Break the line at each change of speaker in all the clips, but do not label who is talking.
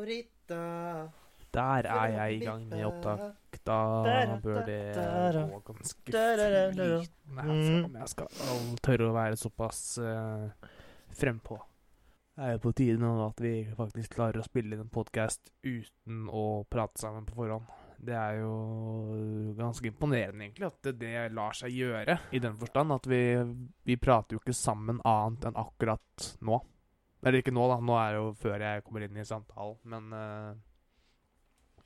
Senorita
Der er jeg i gang med opptak. Da bør det gå ganske altså. flytende. her, Om jeg skal all- tørre å være såpass eh, frempå. Det er jo på tide nå at vi faktisk klarer å spille inn en podkast uten å prate sammen på forhånd. Det er jo ganske imponerende, egentlig, at det, det lar seg gjøre. I den forstand at vi, vi prater jo ikke sammen annet enn akkurat nå. Eller ikke nå, da. Nå er det jo før jeg kommer inn i samtalen, men eh,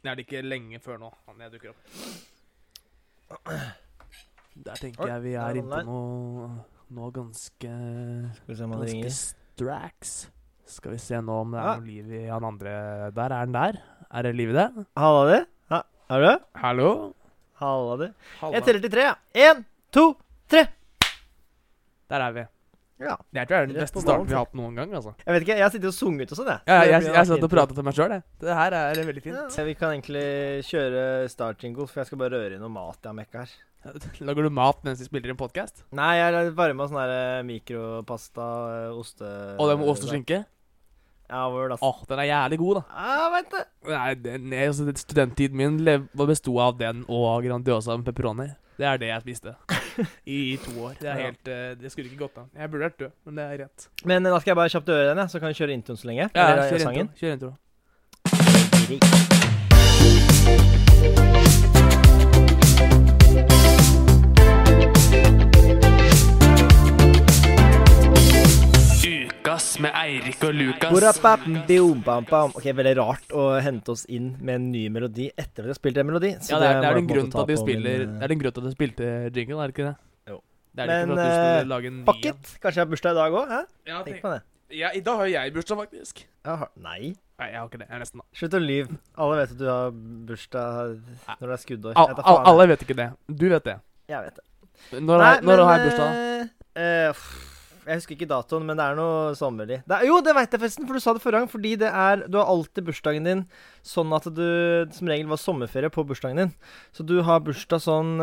det er det ikke lenge før nå han jeg dukker opp. Der tenker
Oi,
jeg vi
der
er
var
innpå
den
noe, noe ganske
Skal vi se om han
Ganske
ringer.
straks. Skal vi se nå om det er
Ja.
noe liv i han andre Der er han der. Er det liv i det?
Halla, du. Ha, er du?
Hallo?
Halla, du.
Halla.
Jeg teller til tre. ja. Én, to
Der er vi.
Ja.
Jeg tror det er den
Rett
beste
på ballen,
starten vi
tror
har hatt noen gang. altså.
Jeg vet ikke, jeg har sittet og sunget og sånn, jeg.
Ja,
Så det
jeg,
blir
jeg,
en
satt og
intro.
pratet til meg sjøl. Det her er veldig fint.
Ja. Vi kan egentlig kjøre start-jingle, for jeg skal bare røre i noe mat jeg har mekka her.
Lager du mat mens vi spiller en podkast?
Nei, jeg varma sånn her eh, mikropasta, eh, oste...
Og det med ost og skinke?
Ja, hvor da?
Å, den er jævlig god, da.
Ah, vent det.
Nei, den, er- altså, det- Studenttiden min lev- hva besto av den og Grandiosa med pepperoni. Det er det jeg spiste i to år. Det er
Ja.
helt, eh, det skulle ikke gått an. Jeg burde vært død, men det er rett.
Men eh, da skal jeg bare kjapt røre den, jeg, så kan vi kjøre introen så lenge.
Ja,
Eller, eh,
kjør
sangen.
intro. Kjør intro. Ukas med Eirik og Lukas.
Borapap, biom, bam, bam. Ok, Veldig rart å hente oss inn med en ny melodi etter at vi har spilt en melodi. så
Ja, det er,
må
det
jeg
er
på
en
måte
grunn til
ta
at de
på
spiller
min,
Det er en grunn til at de spilte jingle, er det ikke det?
Jo.
Det er det ikke
Men,
for at du skulle
eh,
lage en ny
eh, Fuck
en.
it! Kanskje jeg har bursdag i dag òg?
Ja,
Tenk
tenk,
på det.
ja, I dag har jo jeg bursdag, faktisk.
Jeg har- nei.
Nei, jeg har ikke det. Jeg er nesten
Slutt å lyve. Alle vet at du har bursdag når det er skuddår.
Al
Jeg tar
al
faen,
Alle vet ikke det. Du vet det.
jeg- Jeg vet det.
Når, har- når har jeg bursdag?
eh, eh, pff, jeg husker ikke datoen, men det er noe sommerlig. Det er, jo, det veit jeg forresten, for du sa det forrige gang. Fordi det er Du har alltid bursdagen din sånn at du som regel var sommerferie på bursdagen din. Så du har bursdag sånn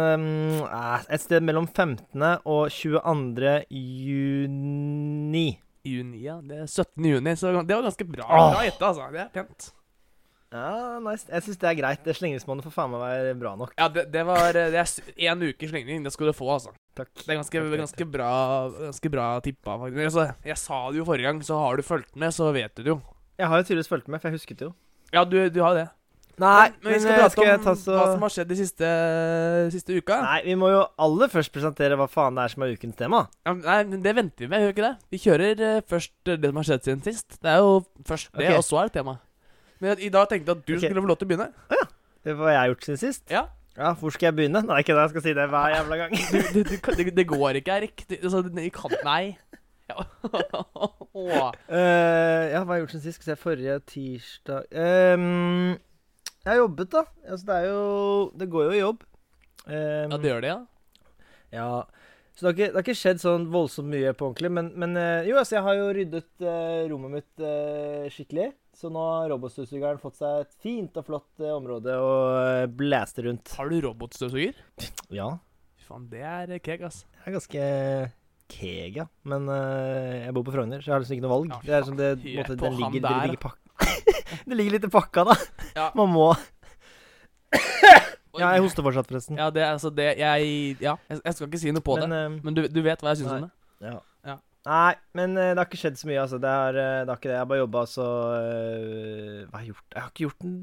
eh, eh, et sted mellom 15. og 22. juni.
I juni, ja. Det er 17. juni, så det var ganske bra.
Åh.
Bra gjetta, altså. Det er pent.
Ja, nice. Jeg syns det er greit. Det slengningsmåneden får faen meg være bra nok.
Ja, det, det var eh, Det er s- en uke slengning. Det skal du få, altså.
Takk.
Det er ganske, ganske bra Ganske bra tippa, faktisk. Altså, jeg sa det jo forrige gang, så har du fulgt med, så vet du det jo.
Jeg har jo tydeligvis fulgt med, for jeg husket det jo.
Ja, du, du har det.
Nei,
men, men vi skal
eh,
prate
skal jeg
om
ta så
hva som har skjedd de siste, siste uka. Nei.
Nei, vi må jo aller først presentere hva faen det er som er ukens tema.
Ja, men- nei, men det venter vi med, gjør vi ikke det? Vi kjører eh, først eh, det som har skjedd siden sist. Det er jo først det,
Ok.
og så er det tema. Men i dag tenkte jeg at du
Ok.
skulle få lov til å begynne.
Det var hva jeg har gjort siden sist.
Ja.
Ja, Hvor skal jeg begynne? Nei, ikke det. Jeg skal si det hver jævla gang.
Du, du, du, kan- det, det går ikke, Erik. Du, altså, det- jeg kan Nei. Ja. Åh.
Eh, ja, hva har jeg gjort siden sist? Skal vi se, forrige tirsdag Ehm, Jeg har jobbet, da. Altså, det er jo Det går jo i jobb. Um,
Ja, det gjør det, ja.
Ja, så det har, ikke, det har ikke skjedd sånn voldsomt mye på ordentlig, men, men eh, jo, altså jeg har jo ryddet eh, rommet mitt eh, skikkelig, så nå har robotstøvsugeren fått seg et fint og flott eh, område å eh, blæste rundt.
Har du robotstøvsuger?
Ja,
Fy faen, det er eh, keg, ass.
jeg er ganske keg, ja, men eh, jeg bor på Frogner, så jeg har liksom ikke noe valg.
Ja,
det er sånn det, på en
faen,
måte,
på
den
han
ligger,
der.
det ligger pakka. det ligger litt i pakka, da.
Ja.
Man må. Ja, jeg hoster fortsatt, forresten.
Ja, det, er altså, det Jeg Ja, jeg, jeg skal ikke si noe på det.
Men, eh,
Men du, du vet hva jeg syns
Nei.
om det?
Ja.
Ja.
Nei, men eh, det har ikke skjedd så mye, altså. Det er, eh, det er ikke det. Jeg har bare jobba så eh, Hva har jeg gjort? Jeg har ikke gjort en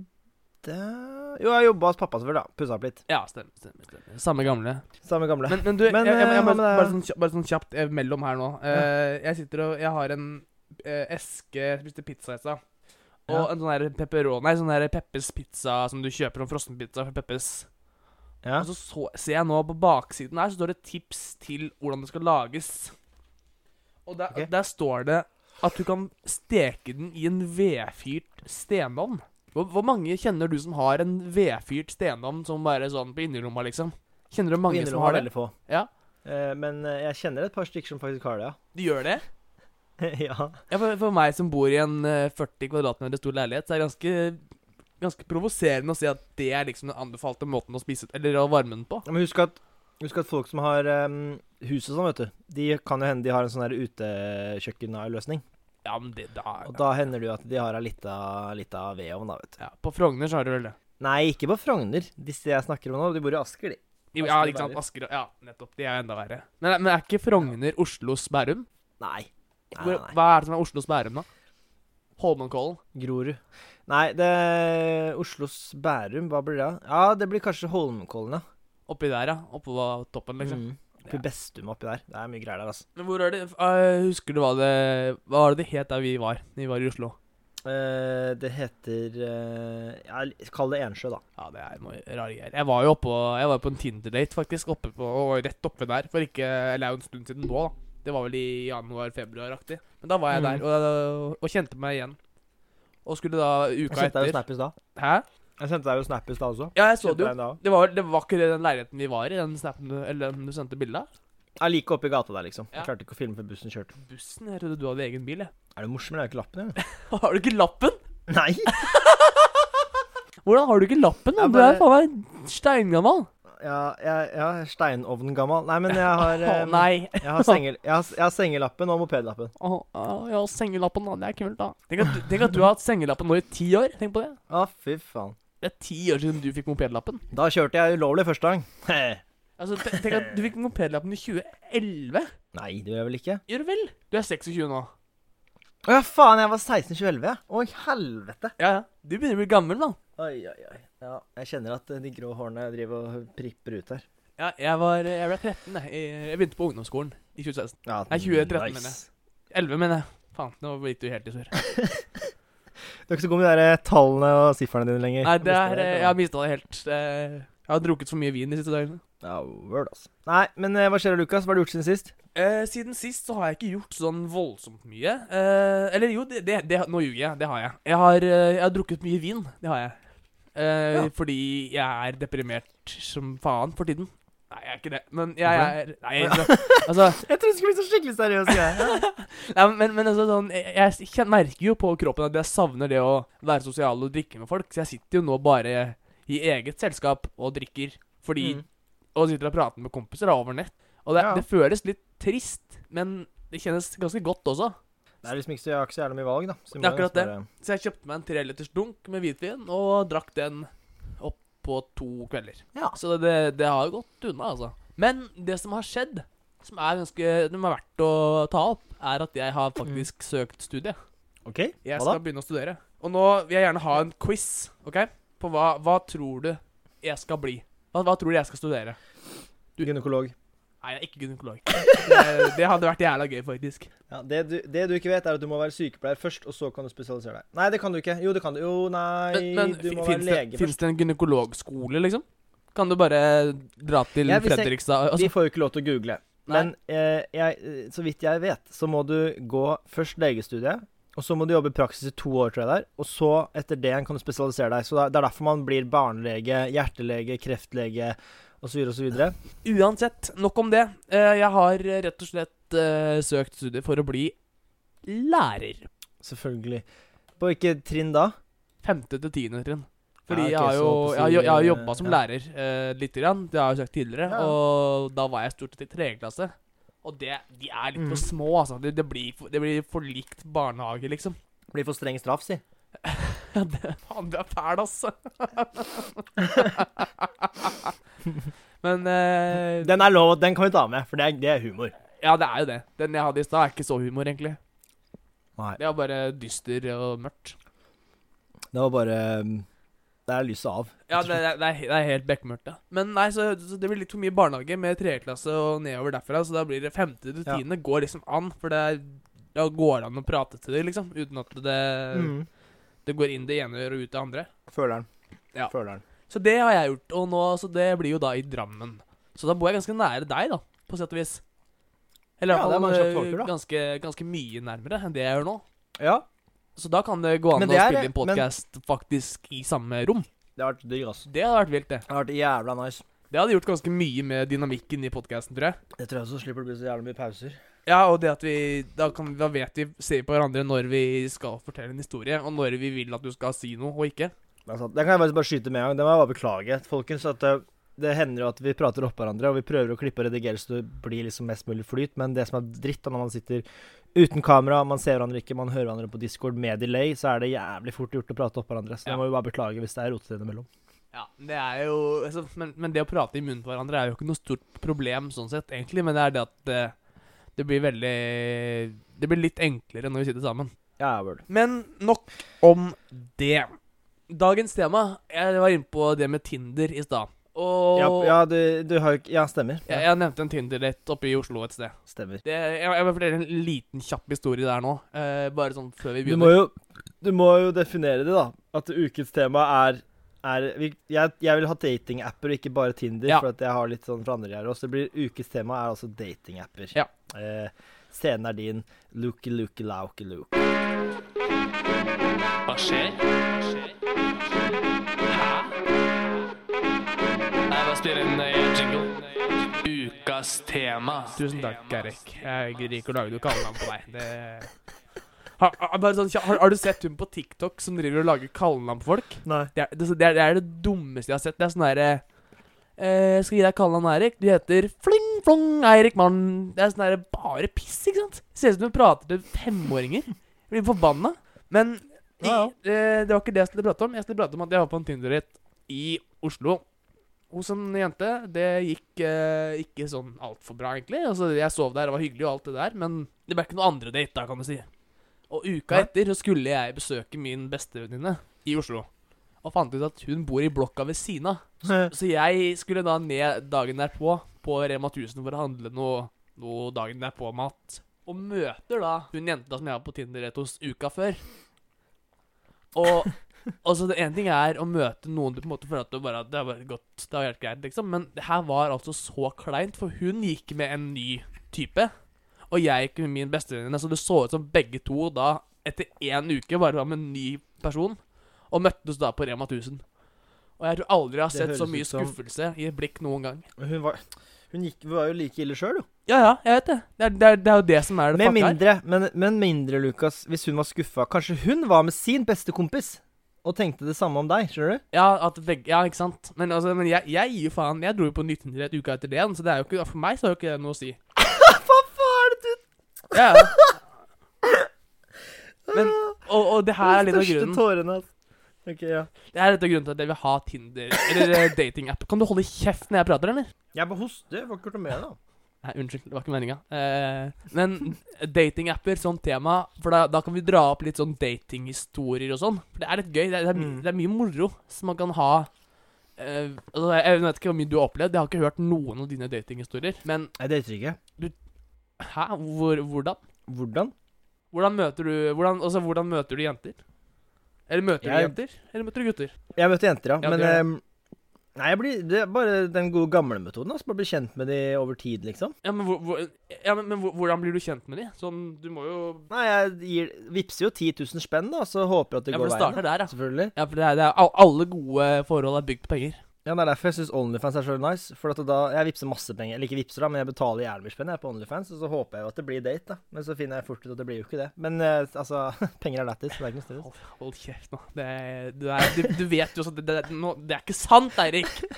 dæ- Jo, jeg har jobba hos pappa selvfølgelig, da. Pussa opp litt.
Ja, stemmer. stemmer, stemmer. Samme gamle.
Samme gamle.
Men, men du,
Men,
jeg, jeg,
eh,
jeg,
hva
bare,
med deg?
bare, sånn, kjapt- bare sånn kjapt eh, mellom her nå. Eh, jeg sitter og Jeg har en eh, eske Jeg spiste pizza i stad. Og
Ja.
en sånn her pepperoni Nei, sånn her Peppes pizza som du kjøper om frossenpizza fra Peppes.
ja.
Og så, så ser jeg nå på baksiden her, så står det tips til hvordan det skal lages. Og der,
Ok.
der står det at du kan steke den i en vedfyrt stenovn. Hvor, hvor mange kjenner du som har en vedfyrt stenovn som bare sånn på innerlomma, liksom? Kjenner du mange som
Innerlomma
har
er
det?
veldig få.
Ja.
Eh, men eh, jeg kjenner et par stykker som faktisk har det,
Du gjør det?
ja. ja.
Ja, for, for meg som bor i en eh, 40 kvadratmeter stor leilighet, så er det ganske, ganske provoserende å si at det er liksom den anbefalte måten å spise Eller å varme den på.
Men husk at, husk at folk som ehm, har eh, hus og sånn, vet du, de kan jo hende de har en sånn her utekjøkkenløsning.
Ja, men det da
Og da hender det jo at de har ei lita, lita vedovn, da, vet du.
ja, På Frogner så har du vel det.
Nei, ikke på Frogner. Disse jeg snakker om nå, de bor i Asker, de.
Jo,
Asker
Ja,
og
ikke sant.
Bærum.
Asker og Ja, nettopp. Det er jo enda verre. Men, men er ikke Frogner Oslos Bærum?
Nei. Nei,
Hvor,
nei, nei.
hva er det som er Oslos Bærum, da? Holmenkollen?
Grorud. Nei, det Oslos Bærum, hva blir det? da? Ja, det blir kanskje Holmenkollen, ja.
Oppi der, ja. Oppå hva- toppen, liksom.
Mm. Oppi Bestum oppi der. Det er mye greier der, altså.
Men hvor er det eh, Husker du hva det Hva var det det het der vi var? Vi var i Oslo.
Eh, det heter eh, ja, Kall det Ensjø, da.
Ja, det er noe rare greier. Jeg var jo oppå, jeg var på en Tinder-date, faktisk. Oppe på, og rett oppe der. For ikke Eller det er jo en stund siden nå, da. Det var vel i januar-februar-aktig. Men da var jeg
Mm.
der og, og kjente meg igjen. Og skulle da
Jeg
uka
sendte deg jo
etter
snap i stad.
Hæ?
Jeg sendte deg jo snap i stad også.
Ja, jeg så
Kjente
det
deg
jo.
da.
Det var, det var ikke den leiligheten vi var i, den snappen du, eller den du sendte bilde av?
Ja, like oppi gata der, liksom.
Ja.
Jeg klarte ikke å filme før bussen kjørte.
Bussen? Jeg trodde du hadde egen bil, jeg.
Er du morsom, eller er det ikke lappen? Eller?
Har du ikke lappen?
Nei!
Hvordan har du ikke lappen? da?
Jeg
Du er
bare-
faen meg steingammal.
Ja, jeg, ja steinovngammal. Nei, men jeg har
Å
eh,
nei.
jeg har, sengel, jeg, har, jeg har sengelappen og mopedlappen.
Å, å, jeg har sengelappen, da. Det er kult, da. Tenk at, tenk at du har hatt sengelappen nå i ti år. Tenk på det.
Å, fy faen.
Det er ti år siden du fikk mopedlappen.
Da kjørte jeg ulovlig første gang.
Altså, te- Tenk at du fikk mopedlappen i 2011.
Nei, det gjør jeg vel ikke.
Gjør du vel? Du er 26 nå.
Å ja, faen, jeg var 16 i 2011. jeg. Å, helvete.
Ja, ja. Du begynner å bli gammel, da.
Oi, oi, oi. Ja, jeg kjenner at eh, de grå hårene driver og pripper ut her.
Ja, jeg, var, jeg ble 13. Jeg, jeg begynte på ungdomsskolen i 2016.
Ja,
Nei, 2013 mener jeg. 11, mener jeg. Faen, nå gikk du helt i surr.
Du er ikke så god med de der tallene og sifferne dine lenger.
Nei, det
Mister
er, eh,
det,
jeg
eller?
har mista det helt. Eh, Jeg har drukket for mye vin de siste dagene.
Ja, word, altså. Nei, men eh, hva skjer da, Lukas? Hva har du gjort siden sist?
Eh, siden sist så har jeg ikke gjort sånn voldsomt mye. Eh, eller jo, det, det, det, nå ljuger jeg. Det har jeg. Jeg har, eh, jeg har drukket mye vin. Det har jeg. Eh,
Ja.
Fordi jeg er deprimert som faen for tiden. Nei, jeg er ikke det. Men jeg er
Hvorfor
Nei, jeg, altså,
Jeg trodde du skulle bli så skikkelig seriøs. Jeg.
nei men, men altså, sånn, jeg, jeg kjen- merker jo på kroppen at jeg savner det å være sosial og drikke med folk. Så jeg sitter jo nå bare i eget selskap og drikker. Fordi
Mm.
og sitter og prater med kompiser da, over nett. Og det,
Ja.
det føles litt trist, men det kjennes ganske godt også.
Det er liksom ikke så, jeg har ikke så jævlig mye valg, da. Så vi
Det er
må
akkurat
nesten
det.
bare-
Så jeg kjøpte meg en treliters dunk med hvitvin og drakk den opp på to kvelder.
Ja.
Så det, det har gått unna, altså. Men det som har skjedd, som er ganske som er verdt å ta opp, er at jeg har faktisk søkt studie.
OK,
Mm. Jeg
hva da?
skal begynne å studere. Og nå vil jeg gjerne ha en quiz, OK? På hva, hva tror du jeg skal bli? Hva, hva tror du jeg skal studere?
Du gynekolog.
Nei, jeg er ikke gynekolog. Det, det hadde vært jævla gøy, faktisk.
Ja, det, du, det du ikke vet, er at du må være sykepleier først, og så kan du spesialisere deg. Nei, det kan du ikke. Jo, det kan du. Jo, nei
Men, men
Du må være
fins det,
lege
finnes
først.
det en gynekologskole, liksom? Kan du bare dra til
Ja, hvis jeg-
Fredrikstad?
Vi
Altså,
får jo ikke lov til å google.
Nei.
Men eh, jeg, eh, så vidt jeg vet, så må du gå først legestudiet, og så må du jobbe i praksis i to år, tror jeg det er, og så etter det kan du spesialisere deg. Så det er- det er derfor man blir barnelege, hjertelege, kreftlege osv. osv.
uansett, nok om det. Eh, Jeg har eh, rett og slett eh, søkt studier for å bli lærer.
Selvfølgelig. På hvilket trinn da?
Femte til tiende trinn. Fordi
Ja, ok,
jeg har
så
jo
på
jeg har, jo- jeg har
sider,
jobba som
ja.
lærer eh, lite grann. Det har jeg jo sagt tidligere.
Ja.
Og da var jeg stort sett i tredje klasse. Og det, de er litt
Mm.
for små, altså. Det, det, blir, for- det blir for likt barnehage, liksom.
Blir for streng straff, si.
Ja, det, faen, du er fæl, altså. Men eh,
Den er lov, den kan vi ta med, for det er, det er humor.
Ja, det er jo det. Den jeg hadde i stad, er ikke så humor, egentlig.
Nei.
Det er bare dyster og mørkt.
Det var bare um, Det er lyset av.
Ja, det, det, er, det er helt bekmørkt, ja. Men nei, så, så det blir litt for mye barnehage med tredjeklasse og nedover derfra, så da blir det femte til
Ja.
tiende går liksom an, for det er, da går det an å prate til dem, liksom, uten at det,
Mm.
det går inn det ene og ut det andre.
Føler den.
Ja.
Føler den.
Så det har jeg gjort, og nå, så det blir jo da i Drammen. Så da bor jeg ganske nære deg, da, på sett og vis. Eller i
Ja,
hvert
det er
fall
bare en kjapp
eh,
togtur, da.
ganske, ganske mye nærmere enn det jeg gjør nå.
Ja,
Så da kan det gå an
Men
å
det er-
spille inn podkast faktisk i samme rom.
det har vært digg, altså.
Det hadde vært vilt, det.
Det har vært jævla nice.
Det hadde gjort ganske mye med dynamikken i podkasten, tror jeg.
Det tror jeg også slipper det å bli så jævla mye pauser.
Ja, og det at vi da, kan, da vet vi ser på hverandre når vi skal fortelle en historie, og når vi vil at du skal si noe og ikke.
Det er sant. Den kan jeg faktisk bare skyte med en gang. Det må jeg bare beklage, folkens. at uh, det hender jo at vi prater oppå hverandre, og vi prøver å klippe og redigere så det blir liksom mest mulig flyt, men det som er dritt da når man sitter Uten kamera, man ser hverandre ikke, man hører hverandre på Discord med delay, så er det jævlig fort gjort å prate opp hverandre. Så
Ja.
jeg må jo bare beklage hvis det er rotete innimellom.
Ja, det er jo altså, men, men det å prate i munnen på hverandre er jo ikke noe stort problem sånn sett, egentlig. Men det er det at eh, det blir veldig Det blir litt enklere når vi sitter sammen.
Ja, ja, vel.
Men nok om det. Dagens tema Jeg var inne på det med Tinder i stad. Og
Ja, ja, du, du har jo ikke Ja, stemmer.
Jeg,
Ja,
jeg nevnte en Tinder-date oppe i Oslo et sted.
stemmer.
Det, jeg, jeg vil fortelle en liten kjapp historie der nå. eh, bare sånn før vi
Du
begynner.
må jo, du må jo definere det, da. At ukens tema er, er vi- jeg, jeg vil ha datingapper og ikke bare Tinder,
Ja.
for at jeg har litt sånn fra andre greier også. Så det blir ukens tema er altså datingapper.
Ja.
Eh, scenen er din. Looky, looky, lauky, look.
Hva skjer? Hva skjer? Hæ? Nei, bare spill en eh, jingle. Ukas tema.
Tusen takk, Eirik. Jeg gidder ikke å lage noe kallenavn på deg. Det... Har, har, bare sånn, kjapt, har, har du sett hun på TikTok som driver og lager kallenavn på folk?
Nei.
Det er det, det er det er det dummeste jeg har sett. Det er sånn herre eh, Skal gi deg kallenavn Eirik. Du heter Fling Flong Eirik Mann. Det er sånn herre bare piss, ikke sant? Ser ut som hun prater til femåringer. Jeg Blir forbanna. Men
Ja, ja.
eh, det var ikke det jeg skulle prate om. Jeg skulle prate om at jeg var på en Tinder-date i Oslo. Hos en jente. Det gikk eh, ikke sånn altfor bra, egentlig. Altså, jeg sov der, det var hyggelig og alt det der, men det ble ikke noe andre date, da, kan du si. Og uka
Nei.
etter så skulle jeg besøke min bestevenninne i Oslo. Og fant ut at hun bor i blokka ved siden av. Så jeg skulle da ned dagen derpå på Rema 1000 for å handle noe, noe dagen derpå-mat. Og møter da hun jenta som jeg var på Tinder rett hos uka før. Og altså, det ene ting er å møte noen du på en måte føler at du bare, det har bare gått Det har vært greit, liksom. Men det her var altså så kleint, for hun gikk med en ny type. Og jeg gikk med min bestevenninne, så det så ut som begge to da, etter én uke, bare var med en ny person. Og møttes da på Rema 1000. Og jeg tror aldri jeg har
Det
sett så
høres
mye
ut som-
skuffelse i et blikk noen gang.
Hun var, hun gikk, hun var jo like ille sjøl, jo.
Ja, ja, jeg vet det. Det er, det er, det er jo det som er det
Med
fucka her.
mindre, men, men mindre, Lukas, hvis hun var skuffa. Kanskje hun var med sin beste kompis og tenkte det samme om deg, skjønner du?
Ja, at begge, ja, ikke sant. Men, altså, men jeg, jeg gir jo faen. Jeg dro jo på nytt internett uka etter det, igjen, så det er jo ikke, for meg så har jo ikke det noe å si.
Hva faen er det du
Ja, ja. Men, og, og det her er litt av grunnen.
tårene hans. Ok, ja.
Det er litt av grunnen til at jeg vil ha Tinder Eller eh, datingapp. Kan du holde kjeft når jeg prater, eller?
Jeg bare hoster. Får ikke gjort noe med det.
Nei, unnskyld. Det var ikke meninga. Eh, men datingapper som tema, for da, da kan vi dra opp litt sånn datinghistorier og sånn. For det er litt gøy. Det er, det er, my-
Mm.
det er mye moro som man kan ha. Eh, altså, jeg, jeg vet ikke hvor mye du har opplevd. Jeg har ikke hørt noen av dine datinghistorier. Men
Jeg dater ikke.
hæ? Hvor, hvordan?
Hvordan?
Hvordan møter du hvordan, Altså, hvordan møter du jenter? Eller møter du
Jeg-
jenter? Eller møter du gutter?
Jeg møter jenter, ja.
Ja,
men
det gjør
ehm, Nei, jeg blir, det er bare den gode gamle metoden. Altså, bare bli kjent med de over tid, liksom.
Ja, men, hvor, hvor, ja, men, men hvor- hvordan blir du kjent med de? Sånn, du må jo
Nei, jeg gir, vipser jo 10 000 spenn, da, så håper jeg at det
Ja, for
går
det
veien.
starter der, ja.
da. Selvfølgelig.
Ja, for det er, det er, al- alle gode forhold er bygd på penger.
Ja, Det er derfor jeg syns Onlyfans er så nice. For at da, Jeg vipser masse penger. Eller ikke vipser, da, men jeg betaler gjerne mye spenn jeg, på Onlyfans. Og så håper jeg jo at det blir date, da. Men så finner jeg fort ut at det blir jo ikke det. Men eh, altså, penger er lættis. Det er ikke noe stress.
Hold, hold kjeft nå. Det, er- du, er, du, du vet jo sånn det, det, er- nå- det er ikke sant, Eirik!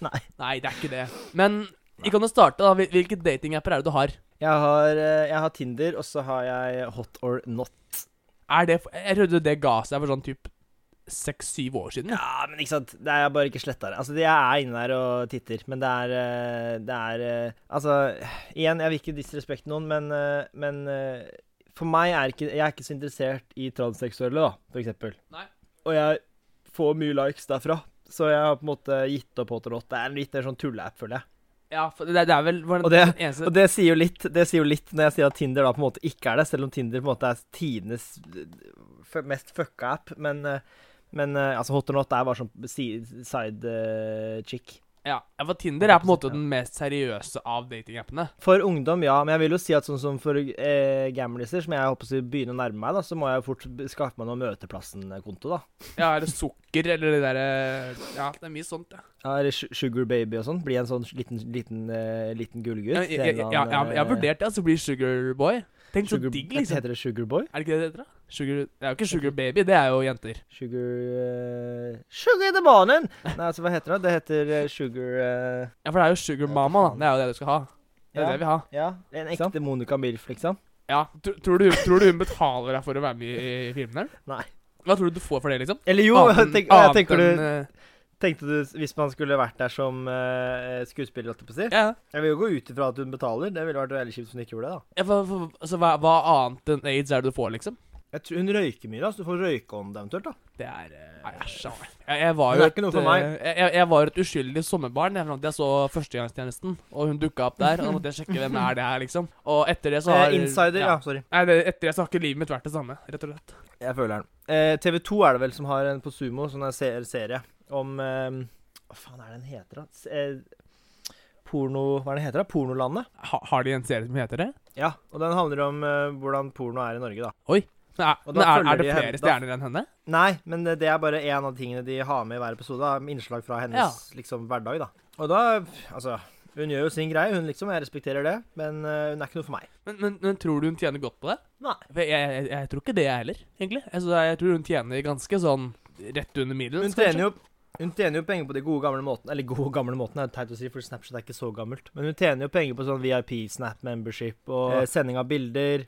Nei.
Nei, det er ikke det. Men vi kan jo starte, da. Hvil- Hvilke datingapper er det du har?
Jeg har, eh, jeg har Tinder, og så har jeg Hot or Not.
Er det for, Jeg trodde det ga seg for sånn typ seks-syv år siden. Ja.
Ja, men ikke sant. Det er jeg bare ikke sletta det. Altså, jeg er inne der og titter, men det er eh, Det er eh, Altså, igjen, jeg vil ikke disrespekte noen, men, eh, men eh, for meg er ikke Jeg er ikke så interessert i transseksuelle, da, for eksempel.
Nei.
Og jeg får mye likes derfra, så jeg har på en måte gitt opp Hot or Not. Det er en litt mer sånn tulleapp, føler jeg.
for det, det er vel var
Og det-
den eneste
Og det sier jo litt Det sier jo litt når jeg sier at Tinder da på en måte ikke er det, selv om Tinder på en måte er tidenes eh, f- mest fucka app. Men, eh, men eh, altså Hot or Not er bare sånn si- side eh, chick.
Ja, ja, for Tinder er på en måte den mest seriøse av datingappene.
For ungdom, ja. Men jeg vil jo si at sånn som for eh, gamliser, som jeg håper å si begynner å nærme meg, da, så må jeg jo fort b- skaffe meg noe Møteplassen-konto, da.
Ja, eller sukker, eller det derre Ja, det er mye sånt, ja.
Ja, eller su- Sugar Baby og sånn. Bli en sånn liten, liten, eh, liten gullgutt.
Jeg, jeg, jeg,
til en
jeg,
eller annen,
jeg har
eh,
vurdert det, altså blir Sugarboy. Tenk så
sugar,
digg, liksom.
Heter det Sugar Boy?
Er det ikke det det heter, da? Sugar Det er jo ikke Sugar Baby, det er jo jenter.
Sugar eh, Sugar the Morning! Nei, altså, hva heter det? Det heter eh, Sugar eh,
Ja, for det er jo Sugar Mama, da. Det er jo det du skal ha. Det er
Ja.
det vi har.
Ja, en ekte
Sant?
Monica Milf, liksom.
Ja, tr- tror du, tror du hun betaler deg for å være med i, i filmen? her?
Nei.
Hva tror du du får for det, liksom?
Eller jo,
Annet
jeg
enn-
tenker, jeg
annet
tenker
enn,
du,
eh,
tenkte du hvis man skulle vært der som eh, skuespiller, holdt jeg på å si.
Ja,
Jeg vil jo gå ut ifra at hun betaler. Det ville vært veldig kjipt hvis hun ikke gjorde det. da
ja, hva, hva, altså, hva, hva annet enn aids er det du får, liksom?
Jeg tror Hun røyker mye, da, så du får røykeånd eventuelt. da
Det er eh, Nei, æsj. da. Jeg, jeg var
Det
jo
er
et,
ikke noe for
eh,
meg.
Jeg, jeg- jeg var et uskyldig sommerbarn jeg, fram til jeg så Førstegangstjenesten, og hun dukka opp der. Og da måtte jeg sjekke hvem er det her, liksom. Og etter det så har
eh, Insider, ja. Sorry.
Nei, det, etter det så har ikke livet mitt vært det samme, rett og slett.
Jeg føler den. Eh, TV2 er det vel som har en på Sumo, sånn en ser serie om eh, Hva faen er det den heter, da? S- Eh, porno... Hva er det den heter, da? Pornolandet?
Ha, har de en serie som heter det?
Ja, og den handler om eh, hvordan porno er i Norge, da.
Men er,
Og da
men er,
følger
er det
de henne,
flere
da.
stjerner enn henne?
Nei, men det, det er bare én av tingene de har med i hver episode. da, Med innslag fra hennes
Ja.
liksom, hverdag, da. Og da Altså, hun gjør jo sin greie, hun liksom. Jeg respekterer det, men eh, hun er ikke noe for meg.
Men, men, men tror du hun tjener godt på det?
Nei.
For jeg, jeg, jeg tror ikke det, jeg heller, egentlig. Altså, jeg tror hun tjener ganske sånn rett under middels.
Hun tjener jo hun tjener jo penger på de gode gamle måtene Eller gode gamle måtene er det teit å si, for Snapchat er ikke så gammelt. Men hun tjener jo penger på sånn VIP-snap-membership og eh, sending av bilder.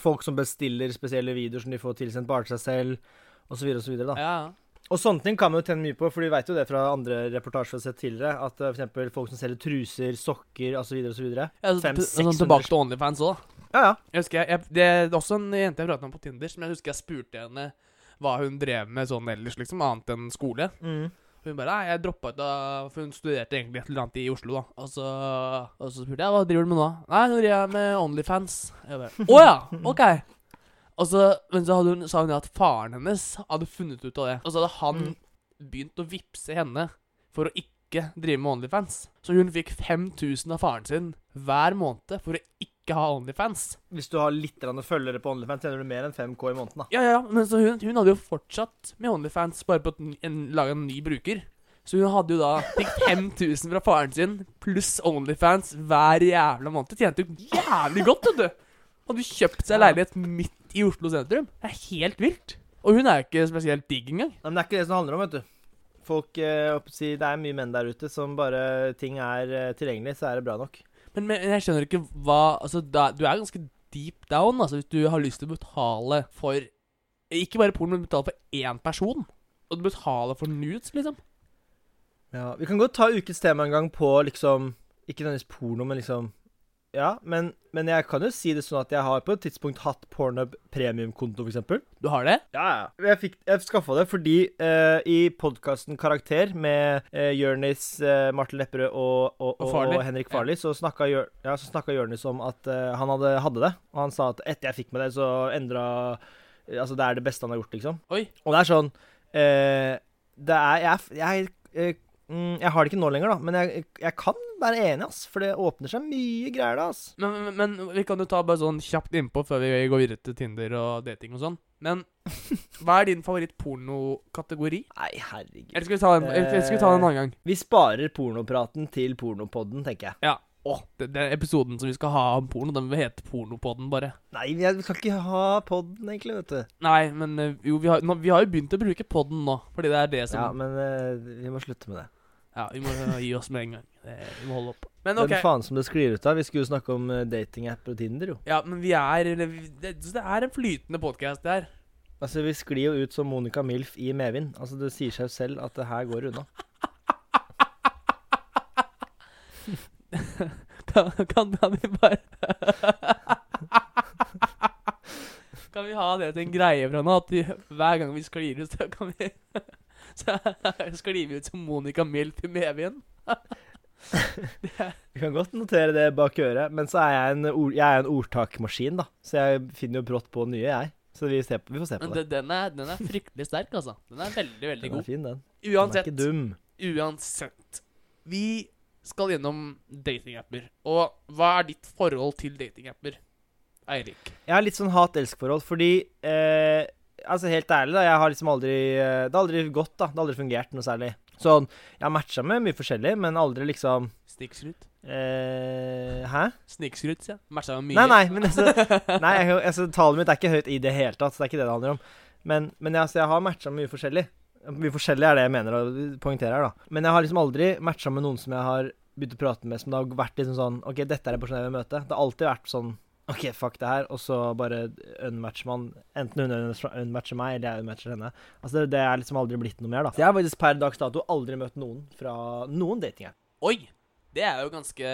Folk som bestiller spesielle videoer som de får tilsendt bare til seg selv, osv. osv.
da. Ja, ja.
Og sånne ting kan man jo tjene mye på, for vi veit jo det fra andre reportasjer vi har sett tidligere, at eh, for eksempel folk som selger truser, sokker osv. osv.
Ja, altså,
Fem,
til- sånn
600
tilbake til Onlyfans òg, da.
Ja, ja.
Jeg husker jeg, jeg, det er også en jente jeg pratet med på Tinder, som jeg husker jeg spurte henne hva hun drev med sånn ellers, liksom, annet enn skole.
Mm.
Og Hun bare Nei, jeg droppa ut av For hun studerte egentlig et eller annet i Oslo, da. Og så, og så spurte jeg hva driver du med nå. Nei, nå driver jeg med Onlyfans. Jeg bare Å ja, ok. Og så, men så hadde hun, sa hun at faren hennes hadde funnet ut av det. Og så hadde han
Mm.
begynt å vippse henne for å ikke drive med Onlyfans. Så hun fikk 5000 av faren sin hver måned for å ikke ha Onlyfans.
Hvis du har litt grann følgere på OnlyFans, tjener du mer enn 5K i måneden, da.
Ja, ja, ja, men så hun, hun hadde jo fortsatt med Onlyfans, bare på å lage en ny bruker. Så hun hadde jo da fikk 5000 fra faren sin, pluss Onlyfans hver jævla måned. Tjente jo jævlig godt, vet du. Hadde kjøpt seg leilighet midt i Oslo sentrum. Det er helt vilt. Og hun er jo ikke spesielt digg engang.
Nei, men det er ikke det som det handler om, vet du. Folk, eh, jeg holdt på å si, Det er mye menn der ute som bare ting er eh, tilgjengelig, så er det bra nok.
Men, men jeg skjønner ikke hva Altså, da, du er ganske deep down, altså, hvis du har lyst til å betale for Ikke bare porno, men betale for én person. Og du betaler for nudes, liksom.
Ja, Vi kan godt ta ukens tema en gang på liksom Ikke nødvendigvis porno, men liksom Ja, men, men jeg kan jo si det sånn at jeg har på et tidspunkt hatt Pornhub premiumkonto, f.eks.
Du har det?
Ja, ja. Jeg, fikk- jeg skaffa det fordi eh, i podkasten Karakter med uh, Jørnis, eh, Martin Lepperød og, og,
Og
og,
Farley.
og Henrik Farley, så snakka Jør, ja, så snakka Jørnis om at eh, han hadde, hadde det. Og han sa at etter jeg fikk med det, så endra Altså, det er det beste han har gjort, liksom.
Oi.
Og det er sånn eh, Det er Jeg, er- jeg, eh, mm, jeg har det ikke nå lenger, da, men jeg, jeg kan være enig, ass. For det åpner seg mye greier da, ass.
Men, men, men vi kan jo ta bare sånn kjapt innpå før vi går videre til Tinder og dating og sånn. Men hva er din favoritt-pornokategori?
Nei, herregud.
Eller skal vi ta den, eller skal vi ta den en annen gang?
Vi sparer pornopraten til pornopodden, tenker jeg.
Ja. Å, den, den episoden som vi skal ha om porno, den vil hete Pornopodden, bare.
Nei, vi er- vi kan ikke ha podden, egentlig, vet du.
Nei, men eh, jo, vi har, nå, vi har jo begynt å bruke podden nå, fordi det er det som
Ja,
Ja,
men eh, vi må slutte med det.
vi må eh, gi oss med en gang. Det, vi må holde opp. Men
Hvem
OK.
faen som det sklir ut av? Vi skulle jo snakke om eh, datingapper og Tinder, jo.
Ja, men vi er eller vi- Det, så det er en flytende podkast, det her.
Altså, vi sklir jo ut som Monica Milf i medvind. Altså, det sier seg jo selv at det her går unna.
Kan, kan, kan vi bare Kan vi ha det til en greie fra nå? At vi, hver gang vi sklir ut, så kan vi Så sklir vi ut som Monica Milf i Medvind.
Vi kan godt notere det bak øret, men så er jeg en, ord, jeg er en ordtakmaskin, da. Så jeg finner jo brått på nye, jeg. Så vi, ser på, vi får se på
Men
det.
den- den er, den er fryktelig sterk, altså. Den er veldig, veldig
Den er
god.
fin, den. Den er
Uansett,
ikke dum.
uansett Vi skal gjennom datingapper. Og hva er ditt forhold til datingapper, Eirik?
Jeg har litt sånn hat-elsk-forhold, fordi eh, Altså, helt ærlig, da. Jeg har liksom aldri eh, Det har aldri gått, da. Det har aldri fungert noe særlig. Sånn Jeg har matcha med mye forskjellig, men aldri liksom
Snikskryt?
eh, Hæ?
Snikskryt, sier jeg. Matcha med mye.
Nei, nei, men altså Nei, jeg, altså, tallet mitt er ikke høyt i det hele tatt, så det er ikke det det handler om. Men, men jeg, altså, jeg har matcha mye forskjellig. Mye forskjellig er det jeg mener å poengtere her, da. Men jeg har liksom aldri matcha med noen som jeg har begynt å prate med, som det har vært liksom sånn OK, dette er en person jeg vil møte. Det har alltid vært sånn OK, fuck det her, og så bare unmatcher man Enten hun unmatcher meg, eller jeg unmatcher henne. Altså, det, det er liksom aldri blitt noe mer, da. Så Jeg har faktisk per dags dato aldri møtt noen fra noen datingapp.
Oi! Det er jo ganske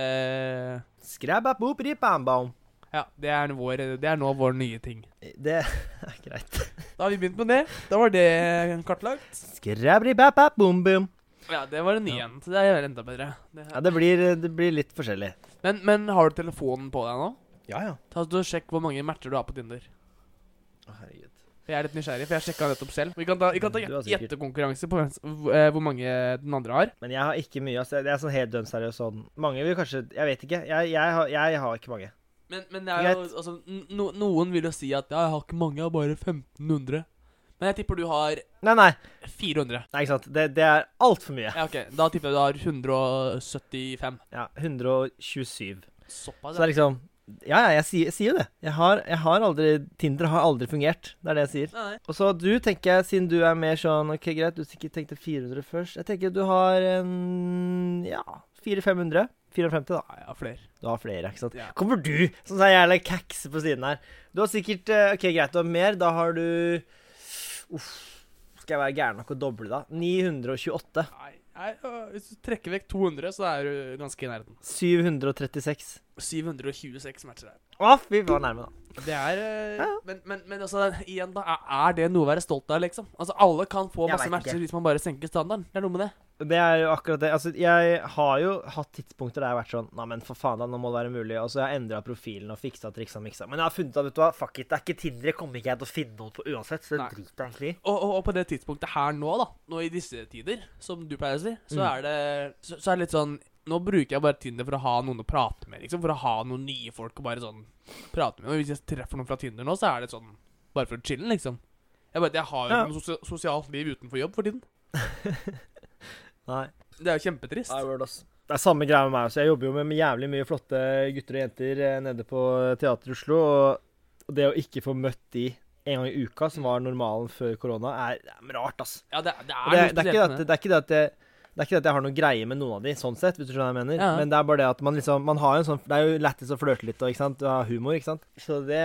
Skrabba-boop-rip-bam-bam.
Ja, det er, vår, det er nå vår nye ting.
Det er greit.
Da har vi begynt med det. Da var det kartlagt.
Skrabri-bap-bap-boom-boom.
Ja, det var en ny en. så Det er enda bedre. Det
Ja, det blir, det blir litt forskjellig.
Men, men har du telefonen på deg nå?
Ja, ja.
Ta og Sjekk hvor mange matcher du har på Tinder.
Å, herregud.
Jeg er litt nysgjerrig, for jeg sjekka nettopp selv. Vi kan ta, vi kan ta
Du har sikkert-
gjettekonkurranse på hvem s- hvor- eh, hvor mange den andre har.
Men jeg har ikke mye. Altså, jeg er sånn helt dønn seriøs sånn. Mange vil kanskje Jeg vet ikke. Jeg, jeg, har, jeg har ikke mange.
Men, men det er jo
Greit.
altså, n- no, Noen vil jo si at ja, 'jeg har ikke mange, jeg har bare 1500'. Men jeg tipper du har
Nei, nei.
400.
nei ikke sant. Det, det er altfor mye.
Ja, ok, Da tipper jeg du har 175.
Ja, 127. Så
Såpass,
det
ja.
er liksom Ja, ja, jeg sier, jeg sier jo det. Jeg har, jeg har aldri Tinder har aldri fungert. Det er det jeg sier.
Nei, nei.
Og så du, tenker jeg, siden du er mer sånn OK, greit, du sikkert tenkte 400 først. Jeg tenker du har en Ja, 400-500. 54, da.
Nei, jeg har flere.
Du har flere, ikke sant.
Ja.
Kommer du som sånn jævla kækse på siden her? Du har sikkert eh, OK, greit, du har mer. Da har du Uff. Skal jeg være gæren nok å doble, da? 928.
Nei, nei, øh, Hvis du trekker vekk 200, så er du ganske i nærheten.
736.
726 matcher der.
Å, fy, vi var nærme, da.
Det er øh,
Ja, ja.
men, men, men altså, igjen, da. er- Er det noe å være stolt av, liksom? Altså, Alle kan få
Jeg
masse
vet
matcher
ikke.
hvis man bare senker standarden. Det er noe med det.
Det er jo akkurat det. Altså, jeg har jo hatt tidspunkter der jeg har vært sånn Nei, men for faen, da, nå må det være mulig. Og så har jeg endra profilen og fiksa triksa miksa. Men jeg har funnet ut at vet du hva, fuck it, det er ikke Tinder. Jeg kommer ikke jeg til å finne noen på uansett, så
Nei.
det driter jeg egentlig i.
Og, og, og på det tidspunktet her nå, da, nå i disse tider, som du pleier å si, så
Mm.
er det så, så er det litt sånn Nå bruker jeg bare Tinder for å ha noen å prate med, liksom. For å ha noen nye folk å bare sånn prate med. Og hvis jeg treffer noen fra Tinder nå, så er det sånn bare for å chille, liksom. Jeg bare, jeg har jo
Ja.
ikke noe sosia- sosialt liv utenfor jobb for tiden.
Nei.
Det er jo kjempetrist.
Nei, word, ass. Det er samme greia med meg også. Jeg jobber jo med jævlig mye flotte gutter og jenter eh, nede på Teater Oslo. Og det å ikke få møtt de en gang i uka, som var normalen før korona, er, det er rart, ass.
Ja, det, det
Og Det,
er noe
det, er
spesielt
ikke
med
det, at, det er ikke det at jeg det er ikke det at jeg har noen greie med noen av de, sånn sett, hvis du skjønner hva jeg mener.
Ja.
Men det er bare det at man liksom Man har jo en sånn Det er jo lættis å flørte litt og ikke sant? Du har humor, ikke sant. Så det,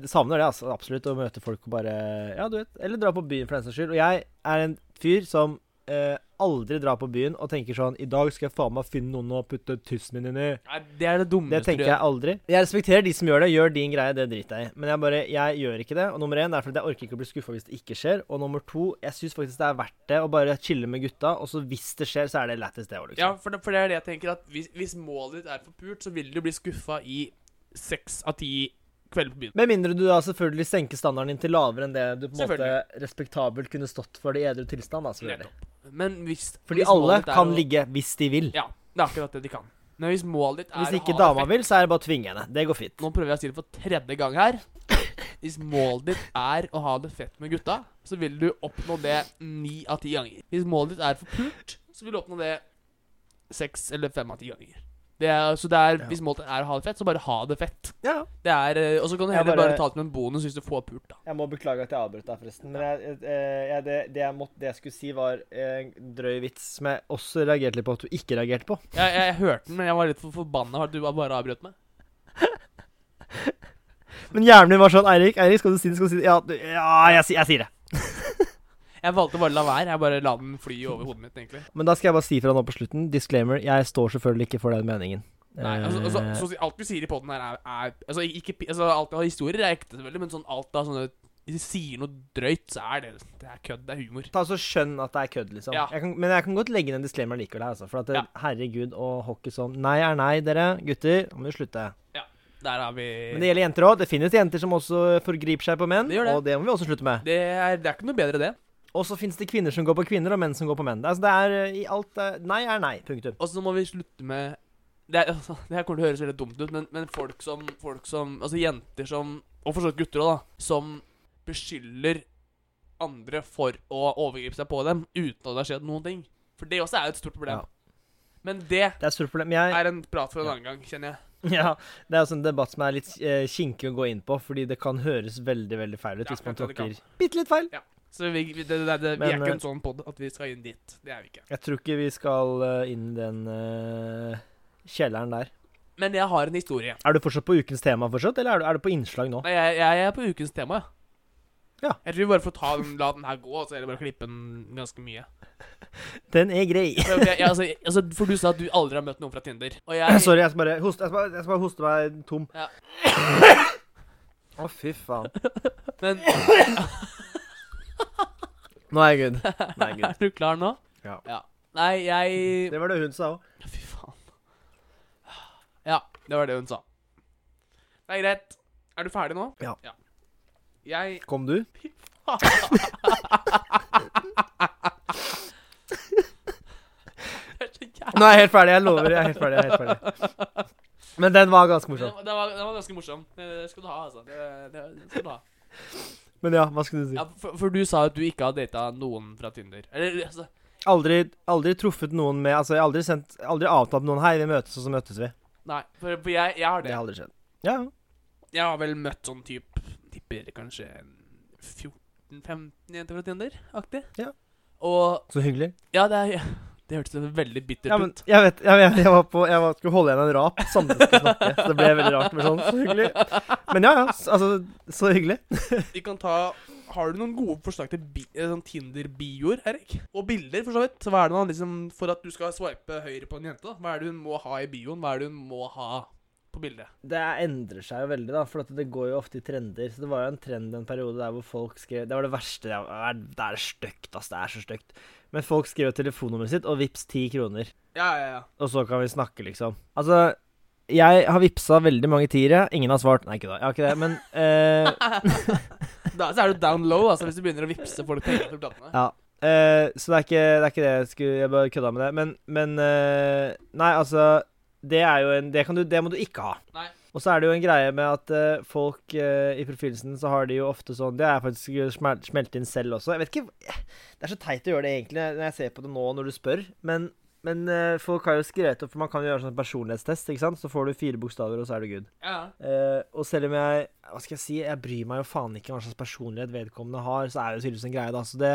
det savner det, altså. Absolutt. Å møte folk og bare Ja, du vet. Eller dra på byen, for den saks skyld. Og jeg er en fyr som eh, aldri drar på byen og tenker sånn I dag skal jeg faen meg finne noen å putte tissen min inn i.
Nei, det er Mm, det dummeste
Det tenker jeg aldri. Jeg respekterer de som gjør det. Gjør din greie, det driter jeg i. Men jeg bare, jeg gjør ikke det. Og nummer én det er fordi jeg orker ikke å bli skuffa hvis det ikke skjer. Og nummer to, jeg syns faktisk det er verdt det å bare chille med gutta. Og så hvis det skjer, så er det lættis, det òg,
Ja,
liksom.
for det, for det er det jeg tenker at hvis, hvis målet ditt er for pult, så vil du bli skuffa i seks av ti kvelder på byen.
Med mindre du da selvfølgelig senker standarden din til lavere enn det du på en måte
Selvfølgelig.
respektabelt kunne stått for i edru tilstand. da, selvfølgelig.
Nettopp. Men hvis
Fordi
hvis målet
alle
ditt er
kan
å-
ligge hvis de vil.
Ja, det er akkurat det de kan. Men hvis målet ditt er
Hvis ikke
å ha
dama
effekt-
vil, så er det bare å tvinge henne. Det går fint.
Nå prøver jeg å si det for tredje gang her. Hvis målet ditt er å ha det fett med gutta, så vil du oppnå det ni av ti ganger. Hvis målet ditt er for pult, så vil du oppnå det seks eller fem av ti ganger. Det er, så det er,
Ja.
hvis målet ditt er å ha det fett, så bare ha det fett.
Ja.
Det er, eh, Og så kan du
Jeg
heller bare,
bare-
ta det som en bonus hvis du får pult, da.
Jeg må beklage at jeg avbrøt deg, forresten. Men jeg, jeg, eh, jeg, det, det, jeg måtte, det jeg skulle si, var eh, en drøy vits som jeg også reagerte litt på at du ikke reagerte på.
Jeg, jeg, jeg hørte den, men jeg var litt for forbanna for at du bare avbrøt meg.
Men hjernen min var sånn Eirik, Eirik, skal du si det? Skal du si det? Ja, du, ja jeg, si- jeg sier det.
Jeg valgte bare å la være. Jeg bare la den fly over hodet mitt, egentlig.
Men da skal jeg bare si fra nå på slutten. Disclaimer. Jeg står selvfølgelig ikke for den meningen.
Nei, altså, altså,
Eh.
så, å si alt du sier i poden her, er, er altså, ikke, pi- altså, Alt av historier er ekte, selvfølgelig, men sånn alt av sånne Hvis du sier noe drøyt, så er det Det er kødd. Det er humor.
Ta så Skjønn at det er kødd, liksom.
Ja.
Jeg kan, men jeg kan godt legge inn en disclaimer likevel. her, Altså, for at det-
Ja.
herregud og hockey sånn Nei er nei, dere. Gutter, nå må du slutte.
Der er vi
Men det gjelder jenter òg. Det finnes jenter som også forgriper seg på menn,
Det gjør det.
og det må vi også slutte med.
det er, det er ikke noe bedre, det.
Og så fins det kvinner som går på kvinner, og menn som går på menn. Det er- Altså, det er eh, i alt eh, Nei er nei. Punktum.
Og så må vi slutte med Det, er, altså, det her kommer til å høres veldig dumt ut, men, men folk som Folk som Altså jenter som Og for så vidt gutter òg, da. Som beskylder andre for å overgripe seg på dem uten at det har skjedd noen ting. For det også er jo et stort problem.
Ja.
Men det
Det er et stort problem. Jeg,
er en prat for en annen gang, kjenner jeg.
ja, det er også en debatt som er litt eh, kinkig å gå inn på, fordi det kan høres veldig veldig feil ut
Ja,
hvis man
det kan det
tråkker bitte litt feil.
Så vi, vi- det, det, det, vi er
Men,
ikke
eh,
en sånn pod at vi skal inn dit. Det er vi ikke.
Jeg tror ikke vi skal eh, inn i den eh, kjelleren der.
Men jeg har en historie.
Er du fortsatt på ukens tema, fortsatt, eller er du, er du på innslag nå?
Nei, Jeg, jeg er på ukens tema, ja.
Ja.
Jeg tror vi bare får ta den, la den her gå, og så er det bare å klippe den ganske mye.
Den er grei.
For, ok, jeg, altså, jeg- altså, for du sa at du aldri har møtt noen fra Tinder. Og jeg
Sorry, jeg skal bare hoste, jeg skal bare, jeg skal bare hoste meg tom.
Ja.
Å, fy faen.
Men
Nå er jeg good. Nå er jeg
er
good.
du klar nå?
Ja.
Nei, jeg
Det var det hun sa òg.
Fy faen. Ja, det var det hun sa. Det er greit. Er du ferdig nå?
Ja.
Jeg
Kom du?
Det er så jævlig-
Nå er jeg helt ferdig. Jeg lover. Jeg er helt ferdig. Jeg er helt ferdig. Men den var ganske morsom.
Den var, den var ganske morsom. Det, det skal du ha, altså. Det, det, det skal du ha.
Men ja, hva skulle du si?
Ja, for, for du sa at du ikke har data noen fra Tinder. Eller altså
Aldri, aldri truffet noen med Altså, jeg har aldri, sendt, aldri avtalt med noen Hei, vi møtes, og så møtes vi.
Nei, for, for jeg, jeg har
Det
det.
har aldri skjedd. Ja, ja.
Jeg har vel møtt sånn type Tipper kanskje 14-15 jenter fra Tinder-aktig.
Ja.
Og
så hyggelig.
Ja, det, er, det hørtes veldig bittert
Ja, men
ut.
jeg vet Jeg, jeg, jeg var på Jeg var, skulle holde igjen en rap samtidig som jeg skulle snakke, så det ble veldig rart. Men sånn, så hyggelig. Men ja, ja. s- Altså, så hyggelig.
Vi kan ta Har du noen gode forslag til bi, eh, sånn Tinder-bioer, Erik? Og bilder, for så vidt. Hva er det man liksom For at du skal swipe høyre på en jente, da? Hva er det hun må ha i bioen? Hva er det hun må ha på bildet?
Det endrer seg jo veldig, da, for at det går jo ofte i trender. Så Det var jo en trend en periode der hvor folk skrev Det var det verste jeg- Det er stygt, ass. Det er så stygt. Men folk skrev jo telefonnummeret sitt, og vips, ti kroner.
Ja, ja, ja.
Og så kan vi snakke, liksom. Altså, jeg har vippsa veldig mange tiere. Ingen har svart. Nei, ikke da. Jeg har ikke det, men eh,
Da så er du down low, altså, hvis du begynner å vippse folk penger til platene.
Ja. eh, så det er, ikke, det er ikke det jeg skulle Jeg bare kødda med det. Men, men eh, Nei, altså Det er jo en Det, kan du, det må du ikke ha.
Nei.
Og så er det jo en greie med at eh, folk eh, i profilen sin, så har de jo ofte sånn Det er faktisk smel smelt inn selv også. Jeg vet ikke eh, Det er så teit å gjøre det egentlig når jeg ser på det nå når du spør, men men eh, folk har jo skrevet opp, for man kan jo gjøre sånn personlighetstest. ikke sant? Så får du fire bokstaver, og så er du good.
Ja.
Eh, og selv om jeg Hva skal jeg si? Jeg bryr meg jo faen ikke hva slags personlighet vedkommende har, så er det tydeligvis en greie, da. Så det,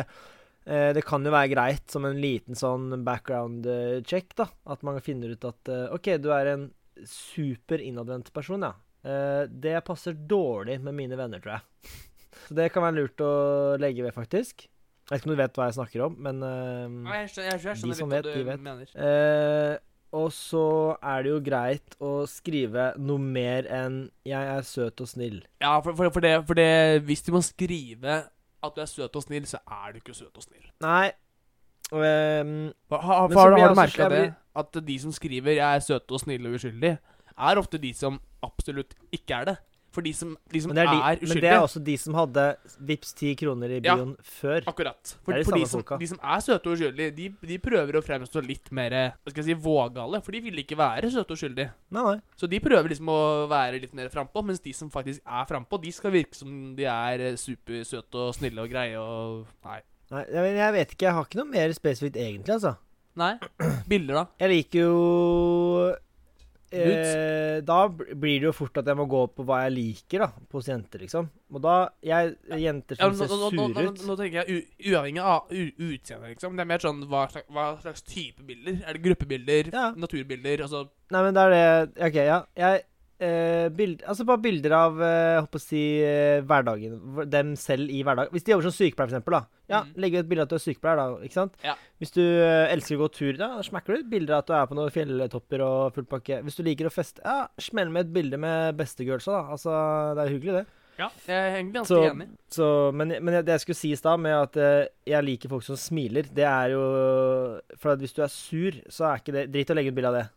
eh, det kan jo være greit som en liten sånn background eh, check, da. At man finner ut at eh, OK, du er en super innadvendt person, ja. Eh, det passer dårlig med mine venner, tror jeg. Så det kan være lurt å legge ved, faktisk. Jeg vet ikke om du vet hva jeg snakker om, men eh,
Jeg skjønner, jeg skjønner, jeg
De som
skjønner litt
vet,
hva
de
du
vet.
mener.
Eh, og så er det jo greit å skrive noe mer enn 'jeg er søt og snill'.
Ja, for, for, for, det, for det Hvis du må skrive at du er søt og snill, så er du ikke søt og snill.
Nei ehm, Men
Har, har,
så
har,
blir
har du
jeg også-
merka
jeg
det? At de som skriver 'jeg er søte og snille og uskyldig', er ofte de som absolutt ikke er det. For de som, de som
men,
er,
det er de, men
uskyldige
det er også de som hadde vips 10 kroner i
Ja.
bioen før.
Akkurat. For,
Det er de
for de,
samme
som,
folka.
de som er søte og uskyldige, de, de prøver å fremstå litt mer hva skal jeg si, vågale. For de vil ikke være søte og skyldige.
Nei, nei.
Så de prøver liksom å være litt mer frampå, mens de som faktisk er frampå, de skal virke som de er eh, supersøte og snille og greie og Nei.
nei jeg, men jeg vet ikke. Jeg har ikke noe mer spesifikt egentlig, altså.
Nei. Bilder, da?
Jeg liker jo eh, Da bl- blir det jo fort at jeg må gå på hva jeg liker, da. På hos jenter, liksom. Og da jeg, Jenter
Ja,
som
men nå,
ser
nå, nå, nå,
sure ut
nå tenker jeg u uavhengig av u utseende, liksom. Det er mer sånn hva slags, hva slags type bilder. Er det gruppebilder?
Ja.
Naturbilder? Altså
Nei, men det er det OK, ja. Jeg eh, bild, Altså bare bilder av eh, jeg håper å si eh, hverdagen. hvor- Dem selv i hverdagen. Hvis de jobber som sykepleier, for eksempel, da. Ja,
Mhm.
Legg ut et bilde av at du er sykepleier, da. Ikke sant?
Ja.
Hvis du eh, elsker å gå tur, da smekker du ut bilder av at du er på noen fjelltopper og full pakke. Hvis du liker å feste, ja, smell med et bilde med bestegirlsa, da. Altså, det er hyggelig, det.
Ja. Jeg er egentlig ganske
Så,
enig.
så, men, men det jeg skulle si i stad, med at eh, jeg liker folk som smiler, det er jo For at hvis du er sur, så er ikke det Drit i å legge ut bilde av det.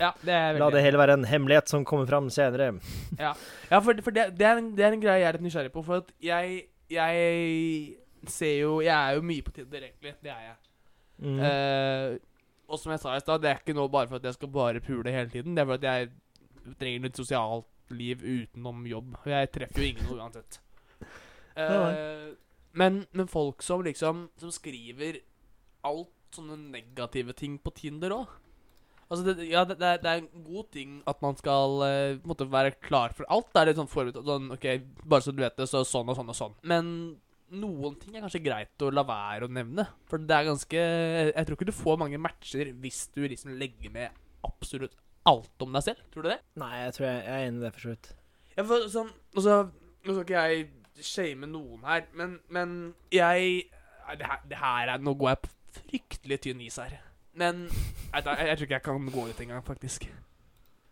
Ja, det er jeg
La
veldig
det heller være en hemmelighet som kommer fram senere.
Ja, for, for det, det, er en, det er en greie jeg er litt nysgjerrig på, for at jeg Jeg ser jo Jeg er jo mye på Tinder, egentlig. Det er jeg.
Mm.
Eh, og som jeg sa i stad, det er ikke nå bare for at jeg skal bare pule hele tiden. Det er for at jeg trenger litt sosialt liv utenom jobb. Og jeg treffer jo ingen uansett. Eh,
Nei.
men, men folk som liksom Som skriver alt sånne negative ting på Tinder òg. Altså det, ja, det, det, er, det er en god ting at man skal eh, på en måte være klar for alt. Det er litt sånn forut sånn, OK, bare så du vet det, så sånn og sånn og sånn. Men noen ting er kanskje greit å la være å nevne. For det er ganske Jeg tror ikke du får mange matcher hvis du liksom legger med absolutt alt om deg selv. Tror du det?
Nei, jeg tror jeg, jeg er enig i det, for så vidt.
Ja, for sånn, altså, Nå skal ikke jeg shame noen her, men, men jeg Nei, det her, det her er, Nå går jeg på fryktelig tynn is her. Men jeg, vet da, jeg, jeg tror ikke jeg kan gå dit engang, faktisk.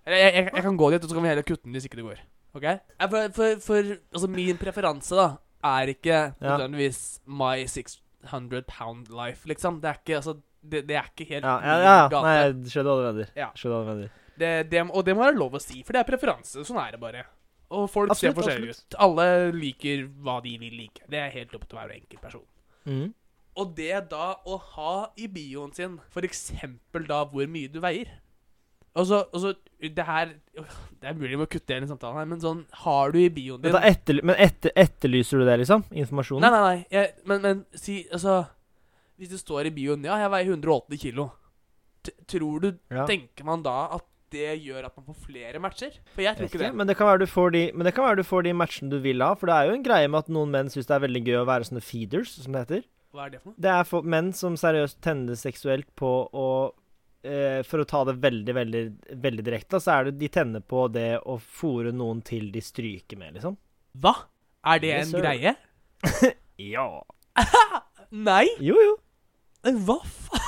Eller jeg, jeg, jeg kan gå dit, og så kan vi heller kutte den hvis ikke det går. Ok? Ja, For, for, for altså, min preferanse da, er ikke nødvendigvis my 600 pound life, liksom. Det er ikke, altså, det, det er ikke helt
Ja, ja,
min
ja. ja.
gate.
Nei, jeg skjønner hva du mener.
Ja.
Skjønner hva du mener.
Det, det, og det må være lov å si, for det er preferanse. Sånn er det bare. Og folk ser
Absolutt,
forskjellige
absolutt.
ut. Alle liker hva de vil like. Det er helt opp til hver enkelt person.
Mm.
Og det da å ha i bioen sin, for eksempel da hvor mye du veier Og så, og så det her Det er mulig vi må kutte igjen i samtalen her, men sånn Har du i bioen din
Men, da etterly- men etter, etterlyser du det, liksom?
Nei,
Informasjonen?
nei, nei. Jeg, men, men si Altså Hvis det står i bioen Ja, jeg veier 180 kilo. T tror du
Ja.
Tenker man da at det gjør at man får flere matcher? For jeg tror
Vet
ikke det.
ikke, Men det, kan være du får de, men det kan være du får de matchene du vil ha. For det er jo en greie med at noen menn syns det er veldig gøy å være sånne feeders, som det heter.
Hva er det for noe?
Det er for menn som seriøst tenner seksuelt på å eh, For å ta det veldig, veldig, veldig direkte, da, så er det de tenner på det å fòre noen til de stryker med, liksom.
Hva? Er det
Yes,
en
sir.
greie?
Ja.
Nei!
Jo, jo.
Hva faen?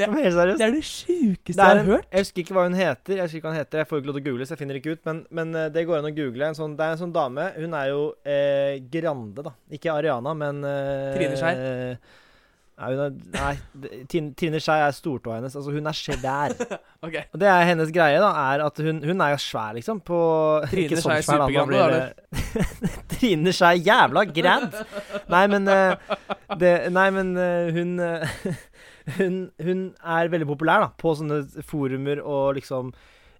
Men Helt seriøst.
Det er det sjukeste
Det er
jeg har
en-
hørt.
Jeg husker ikke hva hun heter. Jeg husker ikke hva han heter Jeg får ikke lov til å google, så jeg finner ikke ut. Men, men eh, det går an å google. En sånn, det er en sånn dame. Hun er jo eh, Grande, da. Ikke Ariana, men eh,
Trine Skei?
eh, Nei, hun er, nei det- Tin- Trine Skei er stortåa hennes. Altså, hun er svær.
Ok,
Og det er hennes greie, da, er at hun, hun er jo svær, liksom, på
Trine
ikke
Skei
sånn svær, da, man
supergrand,
blir, eh, Trine Skei jævla grand! Nei, men eh, det, Nei, men eh, hun eh, hun, hun er veldig populær, da, på sånne forumer og liksom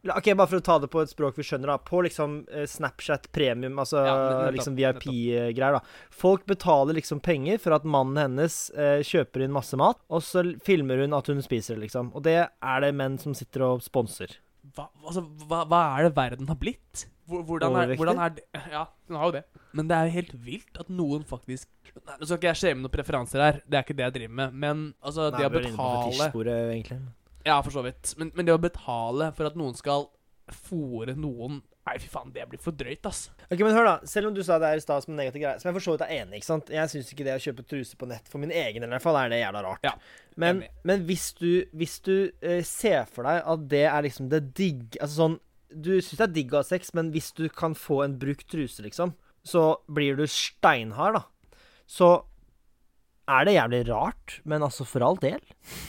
La- Ok, Bare for å ta det på et språk vi skjønner, da. På liksom eh, Snapchat premium, altså
Ja, nettopp,
liksom
nettopp.
VIP-greier, da. Folk betaler liksom penger for at mannen hennes eh, kjøper inn masse mat, og så l- filmer hun at hun spiser det, liksom. Og det er det menn som sitter og sponser.
hva, altså, hva, hva er det verden har blitt? Hvor- Hvordan er,
Overvektig?
hvordan er det? Ja, den har jo det. Men det er jo helt vilt at noen faktisk Nei, Nå skal ikke jeg skjemme noen preferanser her, det er ikke det jeg driver med, men altså, det å
vi er inne på
betale
fetisjsporet, egentlig.
Ja, for så vidt. Men, men det å betale for at noen skal fòre noen Nei, fy faen, det blir for drøyt, ass.
Ok, men hør da, Selv om du sa det her i stad som en negativ greie, som jeg for så vidt er enig ikke sant? Jeg syns ikke det å kjøpe truse på nett for min egen del i hvert fall er det jævla rart.
Ja,
men,
enig.
men hvis du, hvis du eh, ser for deg at det er liksom det digg Altså sånn Du syns det er digg å ha sex, men hvis du kan få en brukt truse, liksom, så blir du steinhard, da. Så er det jævlig rart, men altså for all del.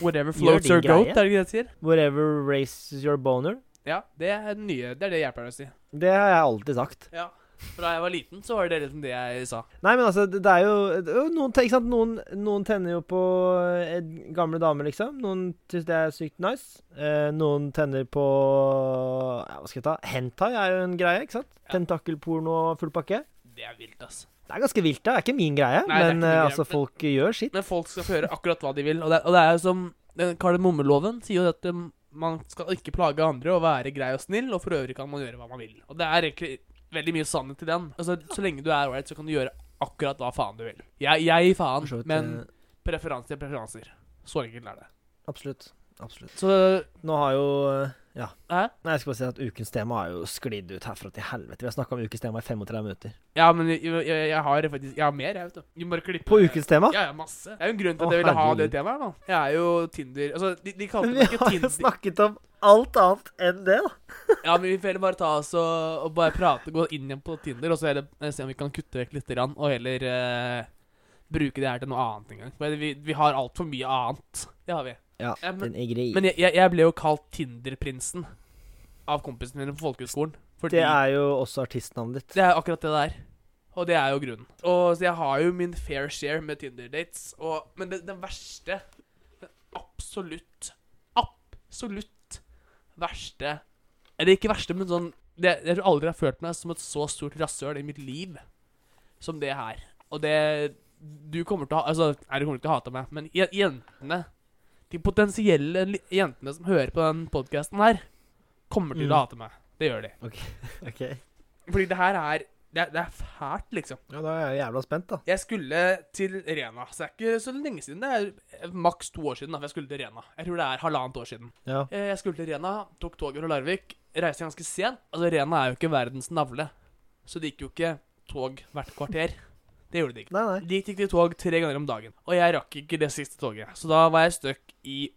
Whatever
Gjør
floats
din
your goat,
greie.
er det ikke det jeg sier?
Whatever raises your boner.
Ja, det er det nye. Det er det jeg pleier å si.
Det har jeg alltid sagt.
Ja. Fra jeg var liten, så var det liksom det jeg sa.
Nei, men altså, det det er jo det er jo Noen, te- ikke sant? noen, noen tenner jo på eh, gamle damer, liksom. Noen syns det er sykt nice. Eh, noen tenner på ja, Hva skal jeg ta? Hentai er jo en greie, ikke sant?
Ja.
Tentakelporno og full pakke.
Det er vilt, ass.
Det er ganske vilt, det. er ikke min greie,
Nei, det er ikke
men
min
eh,
greie,
altså,
men-
folk gjør sitt.
Men folk skal få gjøre akkurat hva de vil. Og det, og det er jo som den kardemommeloven sier jo at um, man skal ikke plage andre og være grei og snill, og for øvrig kan man gjøre hva man vil. Og det er egentlig veldig mye sannhet i den. Altså, så lenge du er ålreit, så kan du gjøre akkurat hva faen du vil. Jeg, jeg faen,
For så vidt,
men
eh,
preferanser er preferanser. Så enkelt er det.
Absolutt. Absolutt.
Så
Nå har jo eh, Ja.
Hæ?
Nei, jeg skal bare si at ukens tema har jo sklidd ut herfra til helvete. Vi har snakka om ukens tema i 35 minutter.
Ja, men jeg, jeg, jeg har faktisk Jeg har mer, jeg, vet du. Du må bare klippe
På ukens tema?
Ja, ja, masse. Det er jo en grunn til
Å,
at jeg ville ha det
herregud.
temaet. da. Jeg er jo Tinder Altså, de, de kalte
Men
meg
vi
ikke
har jo
Tinder
snakket om alt annet enn det, da.
Ja, men vi får heller bare ta oss og, og bare prate, gå inn igjen på Tinder, og så heller eh, se om vi kan kutte vekk litt, grann, og heller eh, bruke det her til noe annet en gang. For vi, vi har altfor mye annet. Det har vi.
Ja,
Ja, men-
den er grei.
Men jeg, jeg, jeg ble jo kalt Tinder-prinsen av kompisen min på folkehøgskolen. Fordi
Det er jo også artistnavnet ditt.
det er akkurat det det er. Og det er jo grunnen. Og så jeg har jo min fair share med Tinder-dates. og- Men det, den verste Den absolutt, absolutt verste Eller ikke verste, men sånn det, Jeg tror aldri jeg har følt meg som et så stort rasshøl i mitt liv som det her. Og det Du kommer til å ha Altså, nei, du kommer ikke til å hate meg, men je- jentene De potensielle li- jentene som hører på den podkasten her, kommer til
Mm.
å hate meg. Det gjør de.
Ok.
Fordi det her er Det, er- det er fælt, liksom.
Ja, da er jeg jævla spent, da.
Jeg skulle til Rena, så det er ikke så lenge siden. Det er maks to år siden da, for jeg skulle til Rena. Jeg tror det er halvannet år siden.
Ja.
Eh, Jeg skulle til Rena, tok toget fra Larvik, reiste ganske sent. Altså, Rena er jo ikke verdens navle, så det gikk jo ikke tog hvert kvarter. Det gjorde det ikke.
Nei, nei.
Dit gikk det tog tre ganger om dagen, og jeg rakk ikke det siste toget. Så da var jeg stuck i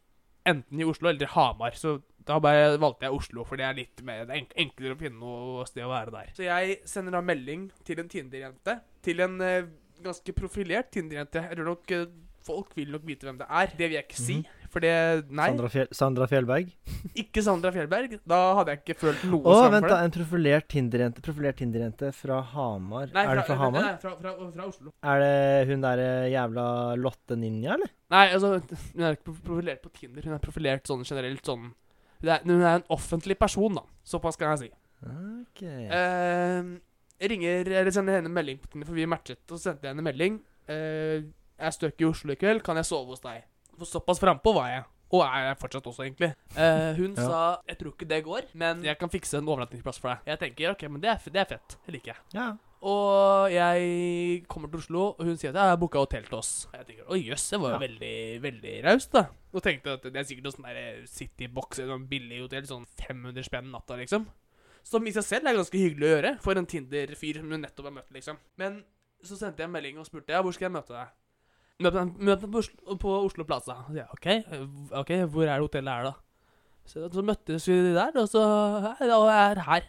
enten i Oslo eller i Hamar, så da bare valgte jeg Oslo, for det er litt mer, det er enk- enklere å finne noe sted å være der. Så jeg sender da melding til en Tinder-jente, til en eh, ganske profilert Tinder-jente. Jeg tror nok eh, folk vil nok vite hvem det er. Det vil jeg ikke si, for det Nei,
Mhm. Sandra, Fjell, Sandra Fjellberg.
ikke Sandra Fjellberg. Da hadde jeg ikke følt noe
Å,
skam
vent
for
da,
det.
en profilert Tinder-jente Profilert Tinder-jente fra Hamar.
Nei,
er det fra
nei,
Hamar?
Nei, fra, fra, fra Oslo.
Er det hun derre jævla Lotte Ninja, eller?
Nei, altså, hun er ikke profilert på Tinder. Hun er profilert sånn generelt sånn Hun er, hun er en offentlig person, da. Såpass kan jeg si.
Ok.
Eh, ringer eller sender henne en melding på Tinder, for vi matchet, og så sendte jeg henne en melding. Eh, jeg er støkk i Oslo i kveld, kan jeg sove hos deg? For såpass frampå var jeg. Og er jeg fortsatt også, egentlig. Eh, hun
Ja.
sa jeg tror ikke det går, men jeg kan fikse en overnattingsplass for deg. Jeg tenker ok, men det er, f- det er fett. Det liker jeg.
Ja.
Og jeg kommer til Oslo, og hun sier at jeg har booka hotell til oss. Og jeg tenker å jøss, det var jo veldig veldig raust, da. Og tenkte at det er sikkert noe sånn der Citybox eller sånn billig hotell, sånn 500 spenn natta, liksom. Som i seg selv er ganske hyggelig å gjøre for en Tinder-fyr som du nettopp har møtt, liksom. Men så sendte jeg en melding og spurte ja, hvor skal jeg møte deg. Møt meg møt meg på, Oslo- på Oslo Plaza. Og jeg, OK, eh, ok, hvor er det hotellet her, da? Så, så møttes vi der, og så «Hei, da, jeg er her.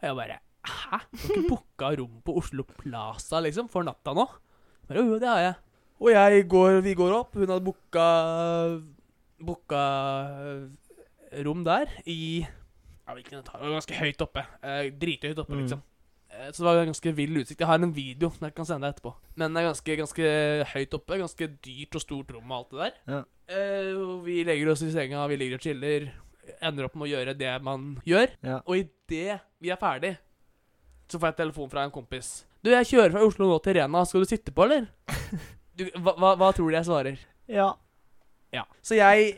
Og jeg bare Hæ? Du har ikke booka rom på Oslo Plaza liksom, for natta nå? Bare, jo, jo, det har jeg. Og jeg går, vi går opp. Hun hadde booka Booka eh, rom der i ja, hvilken etasje? Det var Ganske høyt oppe. Eh, drithøyt oppe,
Mm.
liksom. Eh, så det var en ganske vill utsikt. Jeg har en video som jeg kan sende deg etterpå. Men det er ganske, ganske høyt oppe. Ganske dyrt og stort rom og alt det der.
Ja.
Eh, og vi legger oss i senga, vi ligger og chiller. Ender opp med å gjøre det man gjør.
ja.
Og idet vi er ferdig, så får jeg telefon fra en kompis. Du, jeg kjører fra Oslo nå til Rena. Skal du sitte på, eller? Du, hva, hva, hva tror du jeg svarer?
ja.
Ja. Så jeg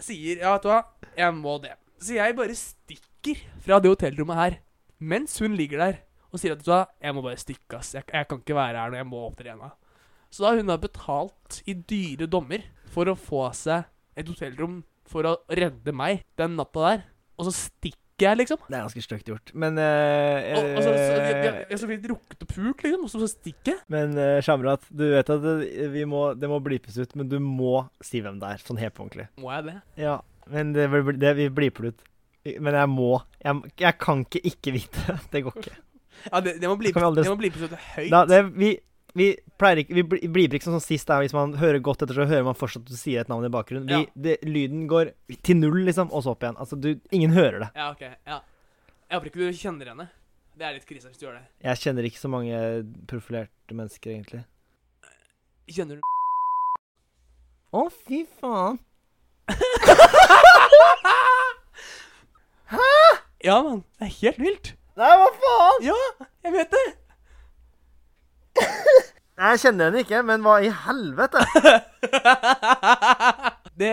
sier Ja, vet du hva, jeg må det. Så jeg bare stikker fra det hotellrommet her mens hun ligger der og sier at vet du hva, jeg må bare stikke, ass. Jeg, jeg kan ikke være her når jeg må opp til Rena. Så da har hun da betalt i dyre dommer for å få seg et hotellrom for å redde meg den natta der, og så stikker jeg, liksom.
Det er ganske stygt gjort. Men eh,
Og, og så, så, jeg, jeg,
eh,
jeg så vidt rukket og pult, liksom, og så, så stikker jeg.
Men eh, Shamrat, du vet at det, vi må, det må blipes ut, men du må si hvem det er, sånn helt på ordentlig.
Må jeg det?
Ja, men det, blir- det, vi bliper det ut. Men jeg må. Jeg, jeg kan ikke ikke vite. Det går ikke.
Ja, det, det må bli
Kan vi aldri-
det må bli på slutt høyt.
Da, det, vi, vi pleier ikke Vi bli- bliper ikke sånn som sist. Da. Hvis man hører godt etter, så hører man fortsatt at du sier et navn i bakgrunnen. Vi,
Ja.
det, lyden går til null, liksom, og så opp igjen. Altså, du, ingen hører det.
Ja, ok. Ja. Jeg håper ikke du kjenner henne. Det er litt krise hvis du gjør det.
Jeg kjenner ikke så mange profilerte mennesker, egentlig.
Kjenner du
Å, fy faen.
Ja, mann. Det er helt vilt.
Nei, hva faen?
Ja, jeg vet det.
Jeg kjenner henne ikke, men hva i helvete?
det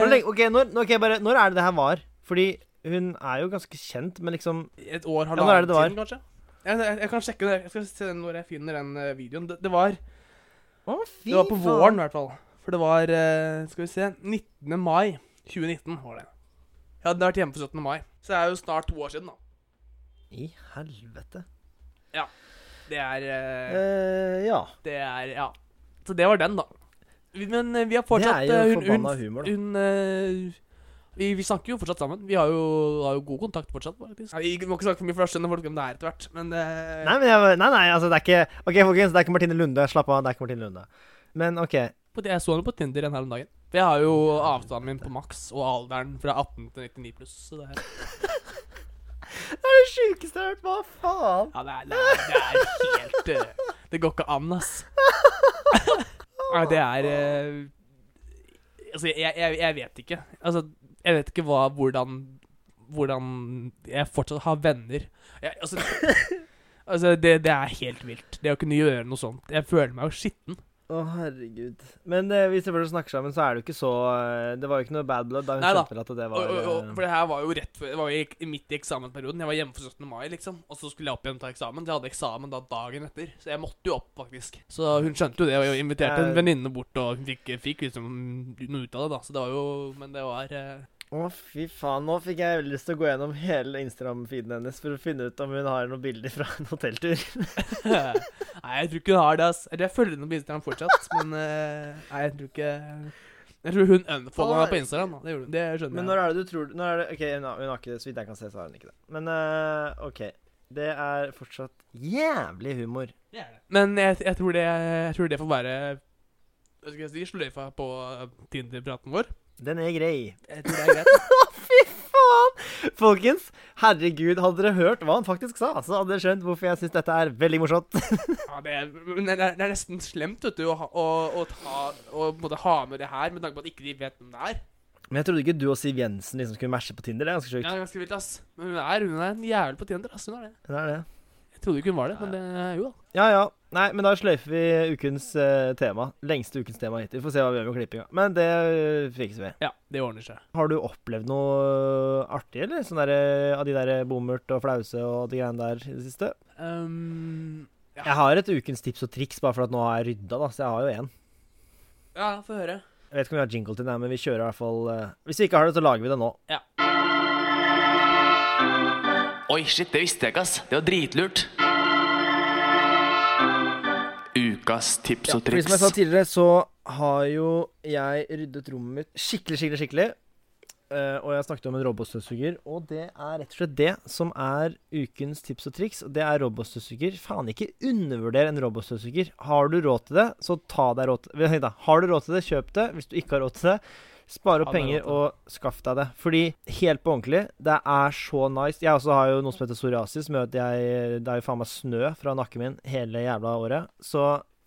Hvor lenge, ok, når, nå- ok, bare, når er det det her var? Fordi hun er jo ganske kjent, men liksom
Et år,
Ja, når er
halvannet
det det var?
siden, kanskje? Jeg, jeg, jeg kan sjekke det. Jeg skal se når jeg finner den eh, videoen. Det, det, var,
Å, fy
det var på våren, i hvert fall. For det var eh, Skal vi se 19. mai 2019 var det. Jeg hadde vært hjemme for 17. mai. Så det er jo snart to år siden, da.
I helvete.
Det er eh,
Eh, ja.
Det er Ja. Så det var den, da. Vi- Men eh, vi har fortsatt
det er
eh,
jo
hun,
forbanna
hun,
humor, da.
hun eh, vi, vi snakker jo fortsatt sammen. Vi har jo, har jo god kontakt fortsatt. faktisk Nei, Vi må ikke snakke for mye, for da skjønner folk hvem det er etter hvert. Men eh,
Nei, men jeg, nei, nei, altså, det er ikke Ok, folkens, det er ikke Martine Lunde. Slapp av, det er ikke Martine Lunde. Men OK.
på- jeg så henne på Tinder en her om dagen. For jeg har jo avstanden min på maks, og alderen fra 18 til 99 pluss. Så det,
Det er det sjukeste jeg har hørt. Hva faen?
ja, det, er, det, er, det er helt eh, Det går ikke an, ass. Nei, det er eh, Altså, jeg, jeg, jeg vet ikke. Altså, jeg vet ikke hva, hvordan Hvordan jeg fortsatt har venner. Jeg, altså, altså det, det er helt vilt. Det å kunne gjøre noe sånt. Jeg føler meg jo skitten.
Å, herregud. Men eh, hvis de først snakker sammen, så er det jo ikke så eh, Det var jo ikke noe bad blood da hun
Nei da.
skjønte vel at det
Og,
var
og, og,
eh,
for det her var jo rett før Det var jo i- i midt i eksamensperioden. Jeg var hjemme for 17. mai, liksom. Og så skulle jeg opp igjen og ta eksamen. Jeg hadde eksamen da dagen etter, så jeg måtte jo opp, faktisk. Så hun skjønte jo det, og jeg inviterte en
Jeg-
venninne bort, og hun fikk, fikk liksom noe ut av det, da. Så det var jo Men det var eh,
Å, fy faen. Nå fikk jeg veldig lyst til å gå gjennom hele Instagram-feeden hennes for å finne ut om hun har noen bilder fra en hotelltur.
Nei, jeg tror ikke hun har det, ass. Eller jeg følger henne på Instagram fortsatt, men eh, Nei, jeg tror ikke Jeg tror hun unfolda meg på Instagram, da. Det, gjorde hun. det skjønner
Men
jeg.
når er det du tror når er det, OK, hun har, hun har ikke det, så vidt jeg kan se, så har hun ikke det. Men eh, OK. Det er fortsatt jævlig humor.
Men jeg, jeg, tror det, jeg tror det får være Hva skal jeg si, sløyfa på eh, Tinder-praten vår.
Den er grei.
Jeg tror det er greit.
Fy faen! Folkens, herregud, hadde dere hørt hva han faktisk sa, så hadde dere skjønt hvorfor jeg syns dette er veldig morsomt.
Ja, det, er, men det, er, det er nesten slemt vet du, å, ha- å, å ta, å på en måte ha med det her, med tanke på at ikke de vet hvem det er.
Men jeg trodde ikke du og Siv Jensen liksom skulle matche på Tinder. Det er ganske
Det
sjukt.
er ganske vilt, ass. Men hun er, hun er en jævel på Tinder. ass, hun er det.
Det er det.
Jeg trodde ikke hun var det, men det er jo da.
Ja ja. Nei, men da sløyfer vi ukens eh, tema. Lengste ukens tema hittil. Får se hva vi gjør med klippinga. Men det eh, fikser vi.
Ja, det ordner seg.
Har du opplevd noe artig, eller? Sånn derre av de der bommert og flause og de greiene der i det siste?
Um,
Jeg har et ukens tips og triks, bare for at nå har jeg rydda, da. Så jeg har jo én.
ja, få høre.
Jeg vet ikke om vi har jingle til den, her, men vi kjører i hvert fall eh, Hvis vi ikke har det, så lager vi det nå.
Oi, shit, det visste jeg ikke, ass. Det var dritlurt. Ukas tips og
Fordi
triks.
som jeg sa tidligere, så har jo jeg ryddet rommet mitt skikkelig, skikkelig, skikkelig. Eh, og jeg snakket om en robotstøvsuger, og det er rett og slett det som er ukens tips og triks. Og det er robotstøvsuger. Faen, ikke undervurder en robotstøvsuger. Har du råd til det, så ta deg råd til Vent, da. Har du råd til det, kjøp det. Hvis du ikke har råd til det, spar opp
Ha deg råd
penger
til
og skaff deg det. Fordi, helt på ordentlig, det er så nice. Jeg også har jo noe som heter psoriasis, med at jeg Det er jo faen meg snø fra nakken min hele jævla året. Så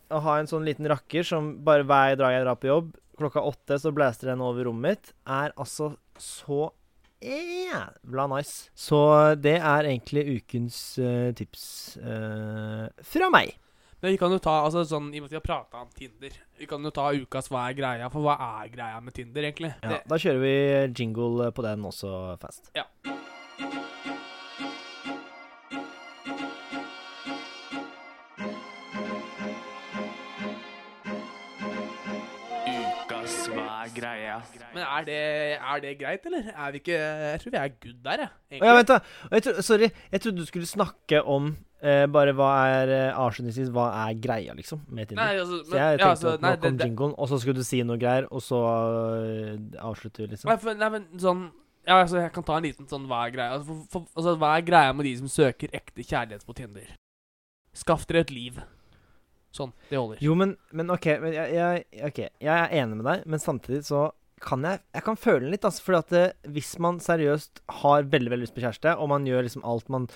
å ha en sånn liten rakker som bare hver dag jeg drar på jobb, klokka åtte så blæster den over rommet mitt, er altså så jævla nice. Så det er egentlig ukens eh, tips eh, fra meg.
Men vi kan jo ta, altså sånn, I og med at vi har prata om Tinder, vi kan jo ta ukas hva er greia, for hva er greia med Tinder, egentlig?
Ja,
Det,
da kjører vi jingle på den også fast.
Ukas hva er greia?
men er det, er det greit, eller? Er vi ikke Jeg tror vi er good der, jeg.
Å ja, vent, da. Og Jeg tro, sorry, jeg trodde du skulle snakke om eh, bare hva er eh, avslutningsvis Hva er greia, liksom, med Tinder.
Nei, altså,
så
men,
jeg tenkte
ja, altså,
at nå
nei, det,
kom
det,
jinglen, og så skulle du si noe greier, og så eh, avslutter vi, liksom.
nei, for, nei, men sånn ja, altså, Jeg kan ta en liten sånn hva er greia altså, for, for, altså, Hva er greia med de som søker ekte kjærlighet på Tinder? Skaff dere et liv. Sånn. Det holder.
Jo, men, men OK. Men jeg, jeg, ok, jeg er enig med deg, men samtidig så kan jeg Jeg kan føle den litt, altså. Fordi at eh, hvis man seriøst har veldig veldig lyst på kjæreste, og man gjør liksom alt man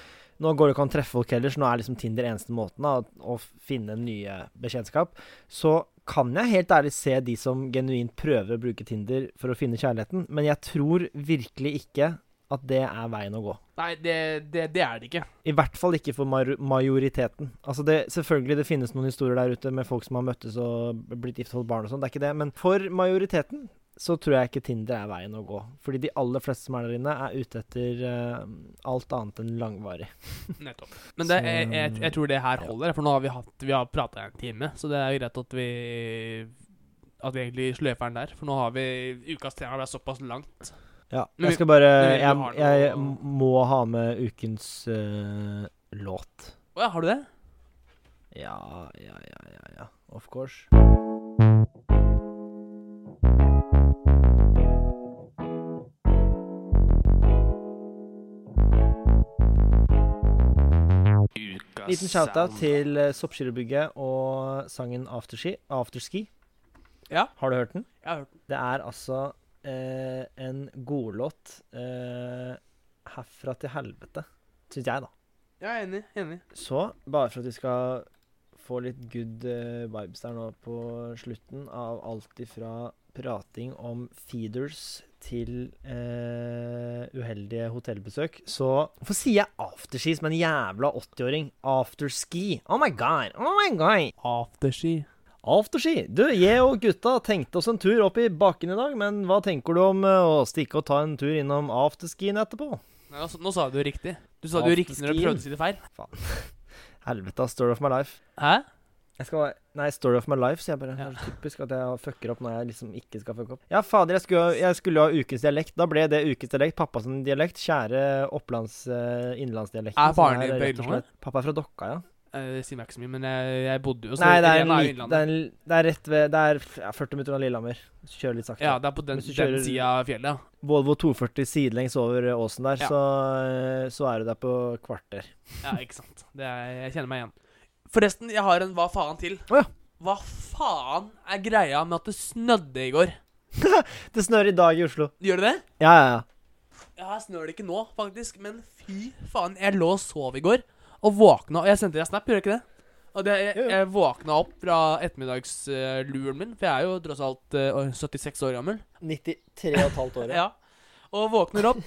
Nå går det ikke an å treffe folk heller, så nå er liksom Tinder eneste måten da, å, å finne nye bekjentskap. Så kan jeg helt ærlig se de som genuint prøver å bruke Tinder for å finne kjærligheten, men jeg tror virkelig ikke at det er veien å gå.
Nei, det, det, det er det ikke.
I hvert fall ikke for major- majoriteten. Altså det, selvfølgelig det finnes noen historier der ute med folk som har møttes og blitt gift og fått barn og sånn, det er ikke det. Men for majoriteten så tror jeg ikke Tinder er veien å gå. Fordi de aller fleste som er der inne, er ute etter eh, alt annet enn langvarig.
Nettopp. Men det,
Så-
jeg, jeg, jeg tror det her
Ja.
holder, for nå har vi, hatt- vi har prata en time. Så det er jo greit at vi At vi egentlig sløyfer den der. For nå har vi Ukas tema ble såpass langt.
Ja.
Men vi-
Jeg skal bare
men vi- vi
Jeg,
har
jeg
noe-
må ha med ukens eh, låt.
Å ja, har du det?
Ja, ja, ja, ja, ja. Of course.
Ukas
Liten shout-out
sound.
til eh, Soppskyrobygget og sangen Afterski. Afterski.
Ja.
Har du hørt den?
Jeg har hørt den.
Det er altså eh, en godlåt eh, herfra til helvete, syns jeg, da.
Jeg er enig. enig.
Så, bare for at vi skal få litt good eh, vibes der nå på slutten, av alt ifra prating om feeders til eh, uheldige hotellbesøk, så Hvorfor sier jeg afterski som en jævla 80-åring? Afterski. Oh my god. Oh my god.
Afterski.
Afterski. Du, jeg og gutta tenkte oss en tur opp i bakken i dag, men hva tenker du om eh, å stikke og ta en tur innom afterskien etterpå?
Nei, altså, nå sa du jo riktig. Du sa det jo riktig når du
Afterskien.
prøvde å si det feil.
Helvete, story of my life.
Hæ?
Jeg skal bare, Nei, story of my life, sier jeg bare.
Ja.
Det er så typisk at jeg fucker opp når jeg liksom ikke skal fucke opp. Ja, fader, jeg skulle, jeg skulle ha ukens dialekt. Da ble det ukens dialekt. Pappa sin dialekt. Kjære opplands... Uh, innlandsdialekten.
Er
som
faren din
rett og
på Innlandet?
slett- Pappa er fra Dokka, ja.
Eh, Det sier meg ikke så mye, men jeg, jeg bodde jo så
Nei, det er, en
Irene jo
liten- det, er
Innlandet.
en, det er rett ved Det er ja, 40 minutter unna Lillehammer. Kjør litt sakte.
Ja, det er på den,
Hvis du
den
kjører-
sida av fjellet. ja.
Volvo 240 sidelengs over eh, åsen der,
Ja.
så, eh, så er du der på kvarter.
Ja, ikke sant. Det er, jeg kjenner meg igjen. Forresten, jeg har en hva faen til.
Å ja.
Hva faen er greia med at det snødde i går?
Det snør i dag i Oslo.
Gjør det det?
Ja, ja, ja.
Ja, her snør det ikke nå, faktisk, men fy faen. Jeg lå og sov i går, og våkna Og jeg sendte deg snap, gjorde jeg ikke det? Og det, jeg,
Jo, jo.
jeg våkna opp fra ettermiddagsluren min, for jeg er jo tross alt eh, 76 år gammel.
93 og et halvt år.
Ja. Og våkner opp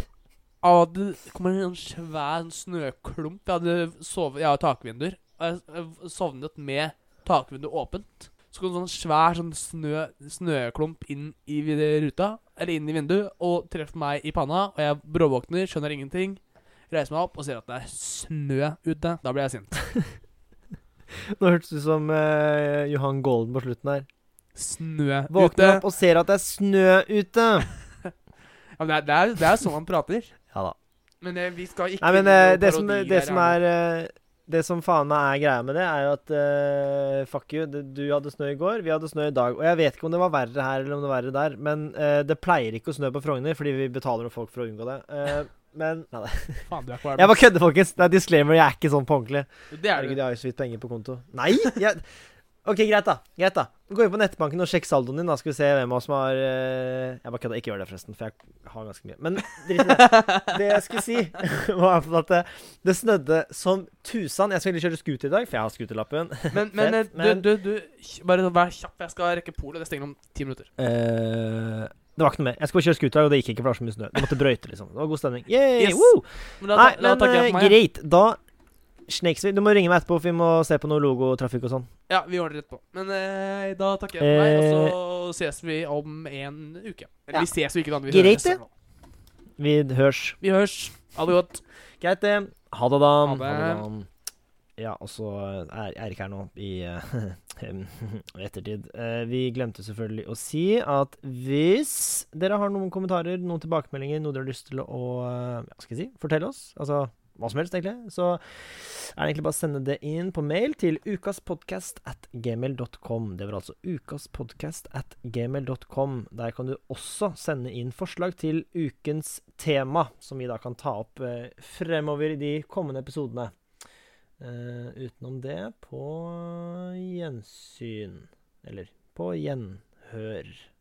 av at det kommer en sånn svær sånn snøklump. Jeg hadde sovet, jeg har takvinduer. Og jeg- jeg sovnet med takvinduet åpent. Så kom en sånn svær sånn snø, snøklump inn i vid- ruta, eller inn i vinduet, og treffer meg i panna. Og jeg bråvåkner, skjønner ingenting. Reiser meg opp og ser at det er snø ute. Da blir jeg sint.
Nå hørtes du ut som eh, Johan Golden på slutten her.
Snø
Våkner
ute.
opp og ser at det er snø ute.
Ja, men det, er, det, er, det er sånn man prater.
Ja da.
Men eh, vi skal ikke
Nei, men
inn i
eh,
noen
det, som,
parodier
det som
her.
er eh, Det som faen meg er greia med det, er jo at eh, Fuck you, det- du hadde snø i går, vi hadde snø i dag. Og jeg vet ikke om det var verre her eller om det var verre der, men eh, det pleier ikke å snø på Frogner, fordi vi betaler folk for å unngå det. Eh, men Nei, nei.
Faen, du er kvalm.
Jeg bare kødder, folkens. Det er disclaimer, jeg er ikke sånn på ordentlig.
Det er det.
Herregud, jeg har jo så vidt penger på konto. Nei! Jeg... OK, greit, da. Greit da Gå inn på nettbanken og sjekk saldoen din. Da skal vi se hvem av oss som har eh, Jeg bare kødda. Ikke gjør det, forresten, for jeg har ganske mye. Men drit i det. Det jeg skulle si, var at det, det snødde som tusan. Jeg skal egentlig kjøre scooter i dag, for jeg har scooterlappen.
Men, men,
Fett,
eh,
men-
du, du, du kj- bare sånn, vær kjapp. Jeg skal rekke polet. Det stenger om ti minutter.
Eh, det var ikke noe mer. Jeg skulle kjøre scooter, i dag, og det gikk ikke, for det var så mye snø. Du måtte brøyte, liksom. Det var god stemning. Yay,
Yes.
woo!
Men da,
Nei,
da,
men
da takker jeg
eh,
for meg. ja.
greit. Da snakes vi. Du må ringe meg etterpå, for vi må se på noe logotrafikk og sånn.
Ja, vi ordner rett på. Men eh, da takker jeg for meg, og så ses vi om en uke.
Eh.
Eller
Ja.
vi ses jo ikke, da. Vi
Greit,
høres.
det. Vi hørs.
Vi hørs. Ha det godt.
Greit, det. Ha det, da.
Ha det.
Ja, og så eh, er er ikke her nå i eh, ettertid. Eh, vi glemte selvfølgelig å si at hvis dere har noen kommentarer, noen tilbakemeldinger, noe dere har lyst til å eh, ja, skal jeg si, fortelle oss, altså hva som helst, egentlig, så er det egentlig bare å sende det inn på mail til ukaspodcast at gmail.com. Det var altså ukaspodcast at gmail.com. Der kan du også sende inn forslag til ukens tema, som vi da kan ta opp eh, fremover i de kommende episodene. Eh, utenom det, på gjensyn. Eller på gjenhør.